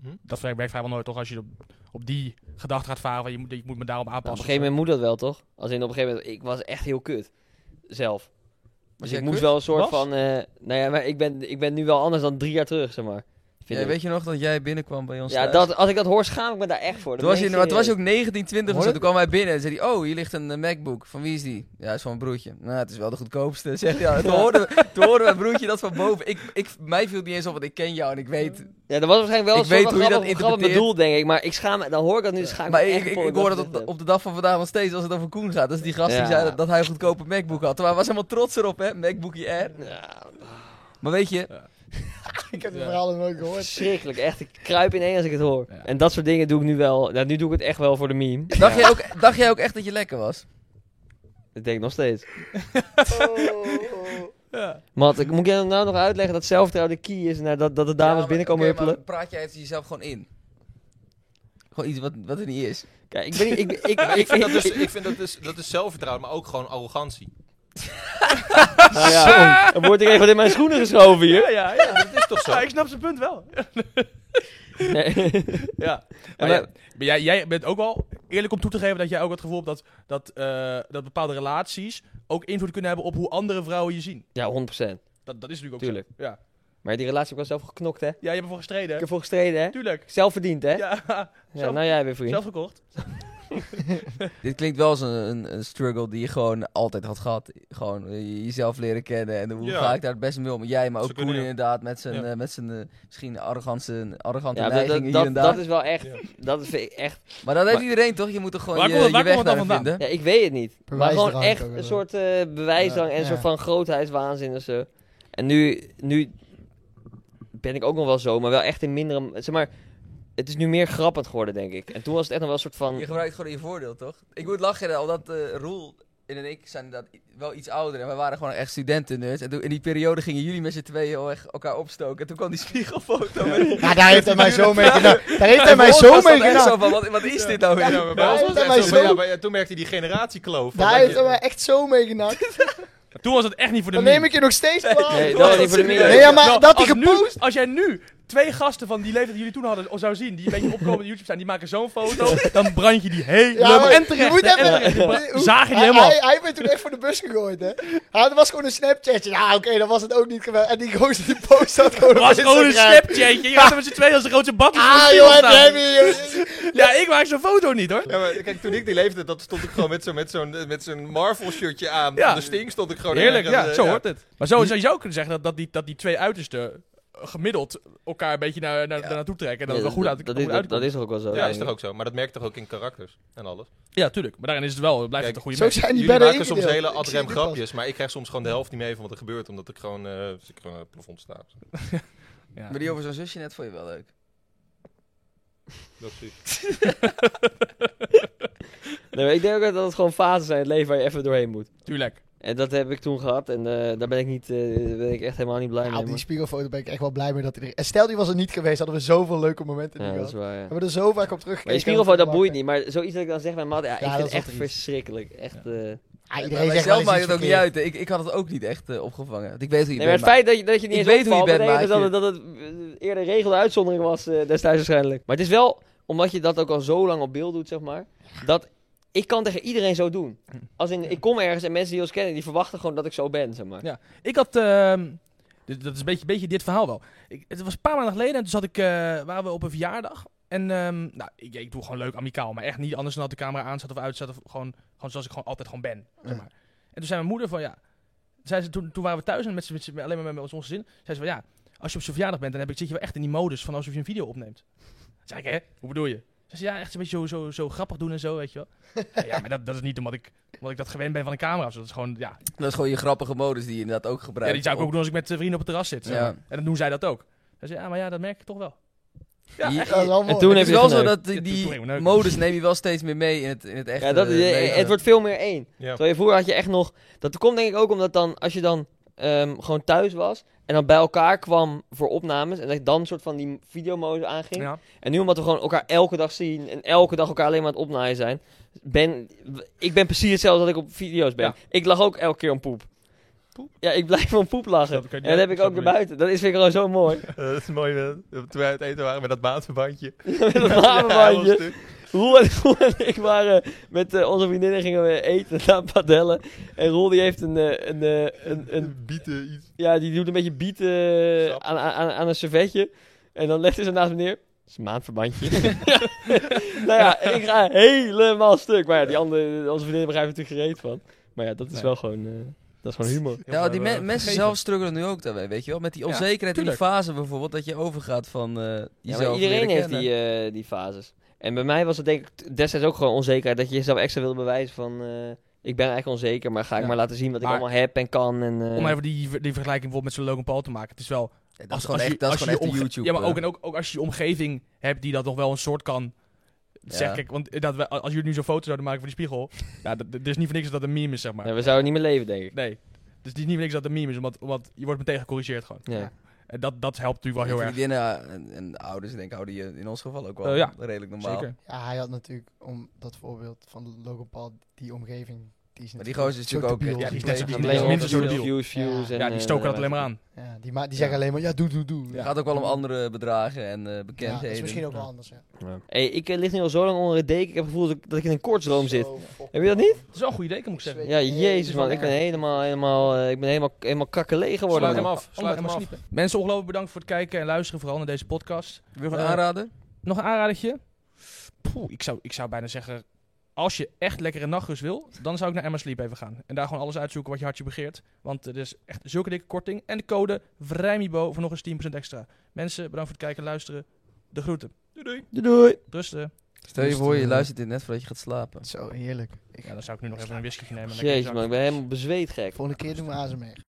S7: Hm?
S1: Dat werkt werkt vrijwel nooit, toch? Als je op, op die gedachte gaat varen, van, je moet, ik moet me daarop
S2: op een
S1: aanpassen.
S2: gegeven moment moet dat wel, toch? Als in op een gegeven moment, ik was echt heel kut. Zelf. Dus
S3: jij
S2: ik moest
S3: kut
S2: wel een soort
S3: was?
S2: van, eh, nou ja, maar ik ben, ik ben nu wel anders dan drie jaar terug, zeg maar. Vind
S3: Ja,
S2: ik.
S3: weet je nog dat jij binnenkwam bij ons
S2: ja
S3: thuis?
S2: dat, als ik dat hoor, schaam ik me daar echt voor.
S3: Toen was, je, maar
S2: wat
S3: toen was je ook 19, 20 of zo.
S5: Hoor
S3: Toen kwam hij binnen en zei hij, oh, hier ligt een eh, MacBook. Van wie is die? Ja, is van mijn broertje. Nou, het is wel de goedkoopste. Zegt hij. Ja, toen, hoorde, toen hoorde mijn broertje dat van boven. Ik, ik, mij viel het niet eens op, want ik ken jou en ik weet...
S2: Ja, dat was waarschijnlijk wel
S3: Ik
S2: een soort
S3: weet
S2: van
S3: hoe je dat
S2: grappig, grappig bedoel,
S3: interpreteert.
S2: denk ik. Maar ik schaam me, dan hoor ik dat nu, dan schaam ik
S3: Maar
S2: me
S3: ik,
S2: echt
S3: ik,
S2: voor
S3: ik
S2: dat
S3: hoor dat
S2: gezegd
S3: op,
S2: heb.
S3: de- op de dag van vandaag nog steeds als het over Koen gaat. Dat is die gast die
S2: Ja.
S3: zei dat, dat hij een goedkope MacBook had. Terwijl hij was helemaal trots erop, hè. MacBookie Air.
S2: Ja,
S3: Maar weet je,
S5: Ik heb het verhaal nog nooit gehoord.
S2: verschrikkelijk. Echt, ik kruip ineen als ik het hoor.
S1: Ja.
S2: En dat soort dingen doe ik nu wel. Nou, nu doe ik het echt wel voor de meme.
S3: dacht, jij ook, dacht jij ook echt dat je lekker was?
S2: Dat denk ik nog steeds.
S5: Oh.
S2: Mat, ik- moet ik jou nou nog uitleggen dat zelfvertrouwen de key is naar dat, dat de dames
S3: Ja, maar-
S2: binnenkomen
S3: oké,
S2: huppelen?
S3: maar praat jij het jezelf gewoon in? Gewoon iets wat, wat er niet is.
S2: Kijk, ik ben niet- ik, ik, ik,
S7: Ik vind dat dus, ik vind dat dus, dat is zelfvertrouwen, maar ook gewoon arrogantie.
S2: nou ja, dan word ik even in mijn schoenen geschoven hier.
S1: Ja, ja,
S7: Dat is toch zo?
S1: ik snap zijn punt wel.
S2: Nee.
S1: Ja.
S2: Maar
S1: Maar jij, maar jij, jij bent ook wel eerlijk om toe te geven dat jij ook het gevoel hebt dat, dat, eh, dat bepaalde relaties ook invloed kunnen hebben op hoe andere vrouwen je zien.
S2: Ja, 100%.
S1: Dat, dat is natuurlijk ook
S2: Tuurlijk.
S1: zo. Ja.
S2: Maar die relatie heb ik wel zelf geknokt, hè? Ik
S1: ja, je hebt ervoor gestreden.
S2: heb
S1: hè?
S2: ervoor gestreden, hè?
S1: Tuurlijk.
S2: Zelf verdiend, hè? Ja,
S1: Ja, zelf,
S2: nou jij weer vriend.
S1: zelf gekocht.
S3: Dit klinkt wel als een, een, een struggle die je gewoon altijd had gehad. Gewoon eh, jezelf leren kennen en hoe
S7: Ja.
S3: ga ik daar het beste mee om. Jij, maar
S7: Ze
S3: ook Koen
S7: kunnen, ja.
S3: inderdaad, met zijn,
S7: Ja.
S3: eh, met zijn eh, misschien arrogante, arrogante
S2: Ja, dat,
S3: neigingen
S2: dat,
S3: hier
S2: dat,
S3: en daar.
S2: dat is wel echt... Dat is vind ik echt...
S3: maar dat heeft
S2: Maar-
S3: iedereen toch? Je moet er gewoon
S1: Waar
S3: je,
S1: komt het-
S3: je
S1: waar
S3: weg
S1: komt het
S3: naar
S1: dan vandaan?
S3: vinden.
S2: Ja, ik weet het niet. Maar
S5: Bewijsdrang
S2: gewoon echt
S5: ook wel.
S2: een soort eh bewijsdrang
S5: Ja,
S2: en een
S5: ja.
S2: soort van grootheidswaanzin of zo. En nu, nu ben ik ook nog wel zo, maar wel echt in mindere... Zeg maar, het is nu meer grappend geworden, denk ik. En toen was het echt nog wel een soort van...
S3: Je gebruikt gewoon je voordeel, toch? Ik moet lachen, omdat eh Roel en ik zijn inderdaad i- wel iets ouder. En wij waren gewoon echt studenten nerds. En toen, in die periode gingen jullie met z'n tweeën heel erg elkaar opstoken. En toen kwam die spiegelfoto. met-
S5: Ja, Nou, daar heeft hij mij zo mee gedaan. Daar heeft hij
S3: En
S5: mij
S3: voor ons
S5: zo
S3: was dat
S5: mee
S3: echt
S5: gedaan.
S3: zo van, wat, wat is dit nou weer?
S7: Oh, Ja, maar bij ons was het
S5: Ja,
S7: echt zo van,
S5: maar zo-
S7: ja, maar ja, toen merkte hij die generatiekloof. van
S5: Daar
S7: dat
S5: heeft
S7: je-
S5: hij mij echt zo mee gedaan.
S1: Toen was het echt niet voor de
S5: Dan
S1: meme.
S5: neem ik je nog steeds kwalijk.
S2: Nee, dat was niet voor de meer.
S5: Nee, ja, maar
S1: Nou,
S5: dat hij
S1: als nu-
S5: gepost...
S1: als jij nu twee gasten van die leeftijd die jullie toen hadden of zou zien, die een beetje opkomende YouTube zijn, die maken zo'n foto, dan brand je die helemaal.
S5: Ja, maar
S1: en
S5: je
S1: terecht.
S5: moet
S1: hè, en
S5: even...
S1: terecht.
S5: Hoe- hoe-
S1: Zagen die
S5: hij,
S1: helemaal.
S5: hij, hij werd toen echt voor de bus gegooid, hè. Ja, dat was gewoon een Snapchatje. Ja, oké, dat was het ook niet geweldig. En die gozer die post had gewoon op
S1: was gewoon een
S5: Instagram.
S1: Snapchatje. Je gaat er met z'n tweeën als de grootste bakjes
S5: Ah,
S1: voor
S5: joh, heb
S1: staan.
S5: jij weer... joh.
S1: Ja, ik maak zo'n foto niet hoor.
S7: Ja, maar kijk, toen ik die leefde, dat stond ik gewoon met zo'n met zo'n met zo'n Marvel shirtje aan.
S1: Ja.
S7: De Sting stond ik gewoon
S1: Heerlijk,
S7: en dan-
S1: ja, zo hoort het. Maar zo zou je ook kunnen zeggen dat, dat, die, dat die twee uitersten eh, gemiddeld elkaar een beetje naar, naar,
S3: Ja.
S1: daar naartoe trekken en
S2: Ja,
S1: dan wel
S2: dat-
S1: goed uit
S2: dat,
S1: goed
S2: is, dat,
S1: uitkomt.
S2: dat is toch ook wel zo.
S7: Ja, is
S2: eigenlijk.
S7: toch ook zo. Maar dat merkt toch ook in karakters en alles.
S1: Ja, tuurlijk. Maar daarin is het wel, blijft het
S7: Kijk,
S1: een goede
S5: Zo
S1: match.
S5: zijn die
S7: Jullie
S5: bedden
S7: maken soms
S5: ingedeeld.
S7: hele
S5: Ik zie
S7: adrem
S5: dit pas.
S7: grapjes, maar ik krijg soms gewoon de helft niet mee van wat er gebeurt, omdat ik gewoon, eh zit ik gewoon aan het plafond sta.
S1: Ja.
S3: Maar die over zo'n zusje net vond je wel leuk.
S7: Dat is
S2: Nee, maar ik denk ook dat het gewoon fases zijn in het leven waar je even doorheen moet.
S1: Tuurlijk.
S2: En dat heb ik toen gehad en eh, daar ben ik, niet, eh, ben ik echt helemaal niet blij
S5: Ja,
S2: mee.
S5: op die
S2: man.
S5: spiegelfoto ben ik echt wel blij mee dat hij er... En stel, die was er niet geweest, hadden we zoveel leuke momenten
S2: Ja,
S5: nu
S2: dat
S5: gehad.
S2: is
S5: We
S2: waar, ja.
S5: hebben er zo vaak op
S2: Maar je
S5: teruggekeken.
S2: spiegelfoto, dat boeit niet. Maar zoiets dat ik dan zeg bij Matt, ja, ik
S5: Ja,
S2: vind
S5: dat
S2: het
S5: is
S2: echt
S5: wel triest.
S2: verschrikkelijk. Echt, eh,
S5: Ja,
S3: Maar
S5: iedereen zegt wel
S3: zelf
S5: eens
S3: maakt
S5: iets
S3: het ook niet
S5: verkeerd.
S3: uit. hè. Ik, ik had het ook niet echt eh, opgevangen. Want Ik weet hoe je
S2: Nee, maar het
S3: bent. maar-
S2: feit dat je, dat je
S3: Ik
S2: niet eens
S3: weet hoe je
S2: opvalt,
S3: bent,
S2: betekent
S3: maar
S2: dat, het, dat het eerder regel de uitzondering was eh, destijds waarschijnlijk. Maar het is wel, omdat je dat ook al zo lang op beeld doet, zeg maar, dat ik kan tegen iedereen zo doen. Als in, ik kom ergens en mensen die ons kennen, die verwachten gewoon dat ik zo ben, zeg maar.
S1: Ja. Ik had, ehm, dit, dat is een beetje, beetje dit verhaal wel. Ik, het was een paar maanden geleden en toen zat ik, eh, waren we op een verjaardag. En ehm, nou, ik, ik doe gewoon leuk amicaal, maar echt niet anders dan dat de camera aan zat of uit zat. Of gewoon, gewoon zoals ik gewoon altijd gewoon ben. Zeg maar. En toen zei mijn moeder van ja, zei ze, toen, toen waren we thuis en met, z'n- met, z'n- alleen maar met, ons ons gezin. Zei ze van ja, als je op zijn verjaardag bent, dan heb ik, zit je wel echt in die modus van alsof je een video opneemt. Zei ik hè, hoe bedoel je? Ze zei ja, echt een beetje zo, zo, zo grappig doen en zo, weet je wel. Ja, ja, maar dat, dat is niet omdat ik, omdat ik dat gewend ben van een camera. of zo. Dat is gewoon, ja,
S3: Dat is gewoon je grappige modus die je inderdaad ook gebruikt.
S1: ja, die zou ik ook doen als ik met eh, vrienden op het terras zit. zeg
S3: Ja.
S1: maar. En dan doen zij dat ook. Ze zei, ja, maar ja, dat merk ik toch wel.
S7: Ja,
S3: Je-
S7: echt.
S5: Dat is wel mooi.
S2: En toen
S3: Het
S2: heb
S3: is
S2: je
S3: wel zo
S2: geneukt.
S3: dat die,
S1: Ja,
S3: die
S1: tuurlijk, maar nou- ook.
S3: modus neem je wel steeds meer mee in het, in het echte
S2: Ja, dat,
S3: eh,
S2: je-
S3: leven.
S2: het wordt veel meer één.
S7: Ja.
S2: Terwijl je vroeger had je echt nog... Dat komt denk ik ook omdat dan, als je dan ehm, gewoon thuis was... en dan bij elkaar kwam voor opnames... en dat je dan een soort van die videomodus aanging...
S1: Ja.
S2: En nu omdat we gewoon elkaar elke dag zien en elke dag elkaar alleen maar aan het opnaaien zijn, ben ik ben precies hetzelfde als ik op video's ben.
S7: Ja.
S2: Ik lach ook elke keer om poep.
S7: Poep?
S2: Ja, ik blijf om poep lachen.
S1: Snap ik, ja,
S2: en dat heb ik
S1: snap
S2: ook
S1: ik.
S2: erbuiten. Dat is vind ik gewoon zo mooi.
S7: dat is mooi. eh, toen wij aan het eten waren met dat baanverbandje.
S2: met dat
S7: Ja, heel
S2: hamerbandje.
S7: stuk.
S2: Roel en, Roel en ik waren met eh, onze vriendinnen gingen we eten naar padellen. En Roel die heeft een, eh, een, eh, een, een
S7: bieten iets.
S2: Ja, die doet een beetje biet eh,
S7: Sap.
S2: aan, aan, aan een servetje. En dan legt hij zo naast me neer. Dat is een maandverbandje. Ja. nou ja, en ik ga helemaal stuk. Maar ja, die andere, onze vriendin begrijpt er natuurlijk gereed van. Maar ja, dat is
S1: Nee.
S2: wel gewoon, eh, dat is gewoon humor.
S3: Ja, die me-
S1: eh,
S3: mensen
S1: vergeten.
S3: zelf struggelen nu ook daarbij, weet je wel? Met die onzekerheid in die
S1: tuurlijk.
S3: fase bijvoorbeeld, dat je overgaat van eh
S2: Ja,
S3: jezelf
S2: maar iedereen
S3: leren
S2: heeft
S3: kennen.
S2: die, eh, die fases. En bij mij was het denk ik t- destijds ook gewoon onzekerheid. Dat je jezelf extra wilde bewijzen van... eh, ik ben eigenlijk onzeker, maar ga ik
S1: Ja.
S2: maar laten zien wat
S1: Maar-
S2: ik allemaal heb en kan. En, eh,
S1: Om even die, die vergelijking bijvoorbeeld met zo'n Logan Paul te maken. Het is wel...
S3: Ja, dat
S1: als-
S3: is gewoon
S1: als je-
S3: echt, dat is
S1: als je
S3: gewoon echt
S1: je
S3: de
S1: omge-
S3: YouTube.
S1: Ja, maar
S3: eh.
S1: ook, en ook, ook als je je omgeving hebt die dat nog wel een soort kan...
S3: Ja.
S1: Zeg ik, want eh, dat we, als jullie nu zo'n foto zouden maken van die spiegel... ja, dat- dat- er is niet voor niks dat dat een meme is, zeg maar.
S2: nou, we zouden niet meer leven, denk ik.
S1: Nee. Dus het is niet voor niks dat het een meme is, omdat, omdat je wordt meteen gecorrigeerd gewoon.
S2: Ja.
S1: En dat, dat helpt natuurlijk wel heel erg.
S3: Vriendinnen eh, en, en ouders, denk ik, houden je in ons geval ook wel
S1: Eh, ja.
S3: redelijk normaal.
S1: Zeker.
S5: Ja, hij had natuurlijk, om dat voorbeeld van Logan Paul, die omgeving, die is
S3: Maar die
S5: natuurlijk
S3: gozer is
S5: zo
S3: natuurlijk ook...
S5: debiel.
S1: ja, die is net zo-
S3: compleet
S1: die is
S3: gebleven.
S1: net zo minstens debiel.
S2: views, views, views.
S5: Ja,
S2: en,
S1: Ja, die
S2: eh,
S1: stoken dat alleen maar
S2: weet ik
S1: aan.
S5: Ja, die, ma- die zeggen alleen maar, ja, doe, doe, doe.
S3: Het gaat ook wel om andere bedragen en eh,
S5: Ja, dat
S3: bekendheden.
S5: is misschien ook wel anders, ja.
S2: Hey, ik eh, lig nu al zo lang onder het deken. Ik heb het gevoel dat ik, dat ik in een koortsdroom zit.
S5: Zo
S2: Heb je dat niet?
S1: Dat is wel een goede deken, moet ik zeggen.
S2: Ja, jezus man. Ik ben
S5: Ja.
S2: helemaal, helemaal, eh, ik ben helemaal, helemaal kakkelee geworden.
S7: Sluit
S2: man.
S7: hem af. Sluit hem af.
S1: Mensen, ongelooflijk bedankt voor het kijken en luisteren, vooral naar deze podcast.
S3: Wil je gewoon
S1: Eh,
S3: aanraden?
S1: Nog een aanradertje? Poeh, ik zou, ik zou bijna zeggen, als je echt lekkere nachtrust wil, dan zou ik naar Emma Sleep even gaan. En daar gewoon alles uitzoeken wat je hartje begeert. Want er is echt zulke dikke korting. En de code VRIJMIBO voor nog eens 10% extra. Mensen, bedankt voor het kijken en luisteren. De groeten. Doei doei.
S2: Doei doei.
S1: Rusten.
S3: Stel je
S5: dus
S3: voor, je
S5: de-
S3: luistert dit net voordat je gaat slapen.
S5: Zo heerlijk. Ik,
S1: Ja, dan zou ik nu nog even een whisky nemen. lekker in de
S2: Jezus
S1: zak.
S2: man, ik ben helemaal bezweet gek.
S5: volgende keer doen we ASMR.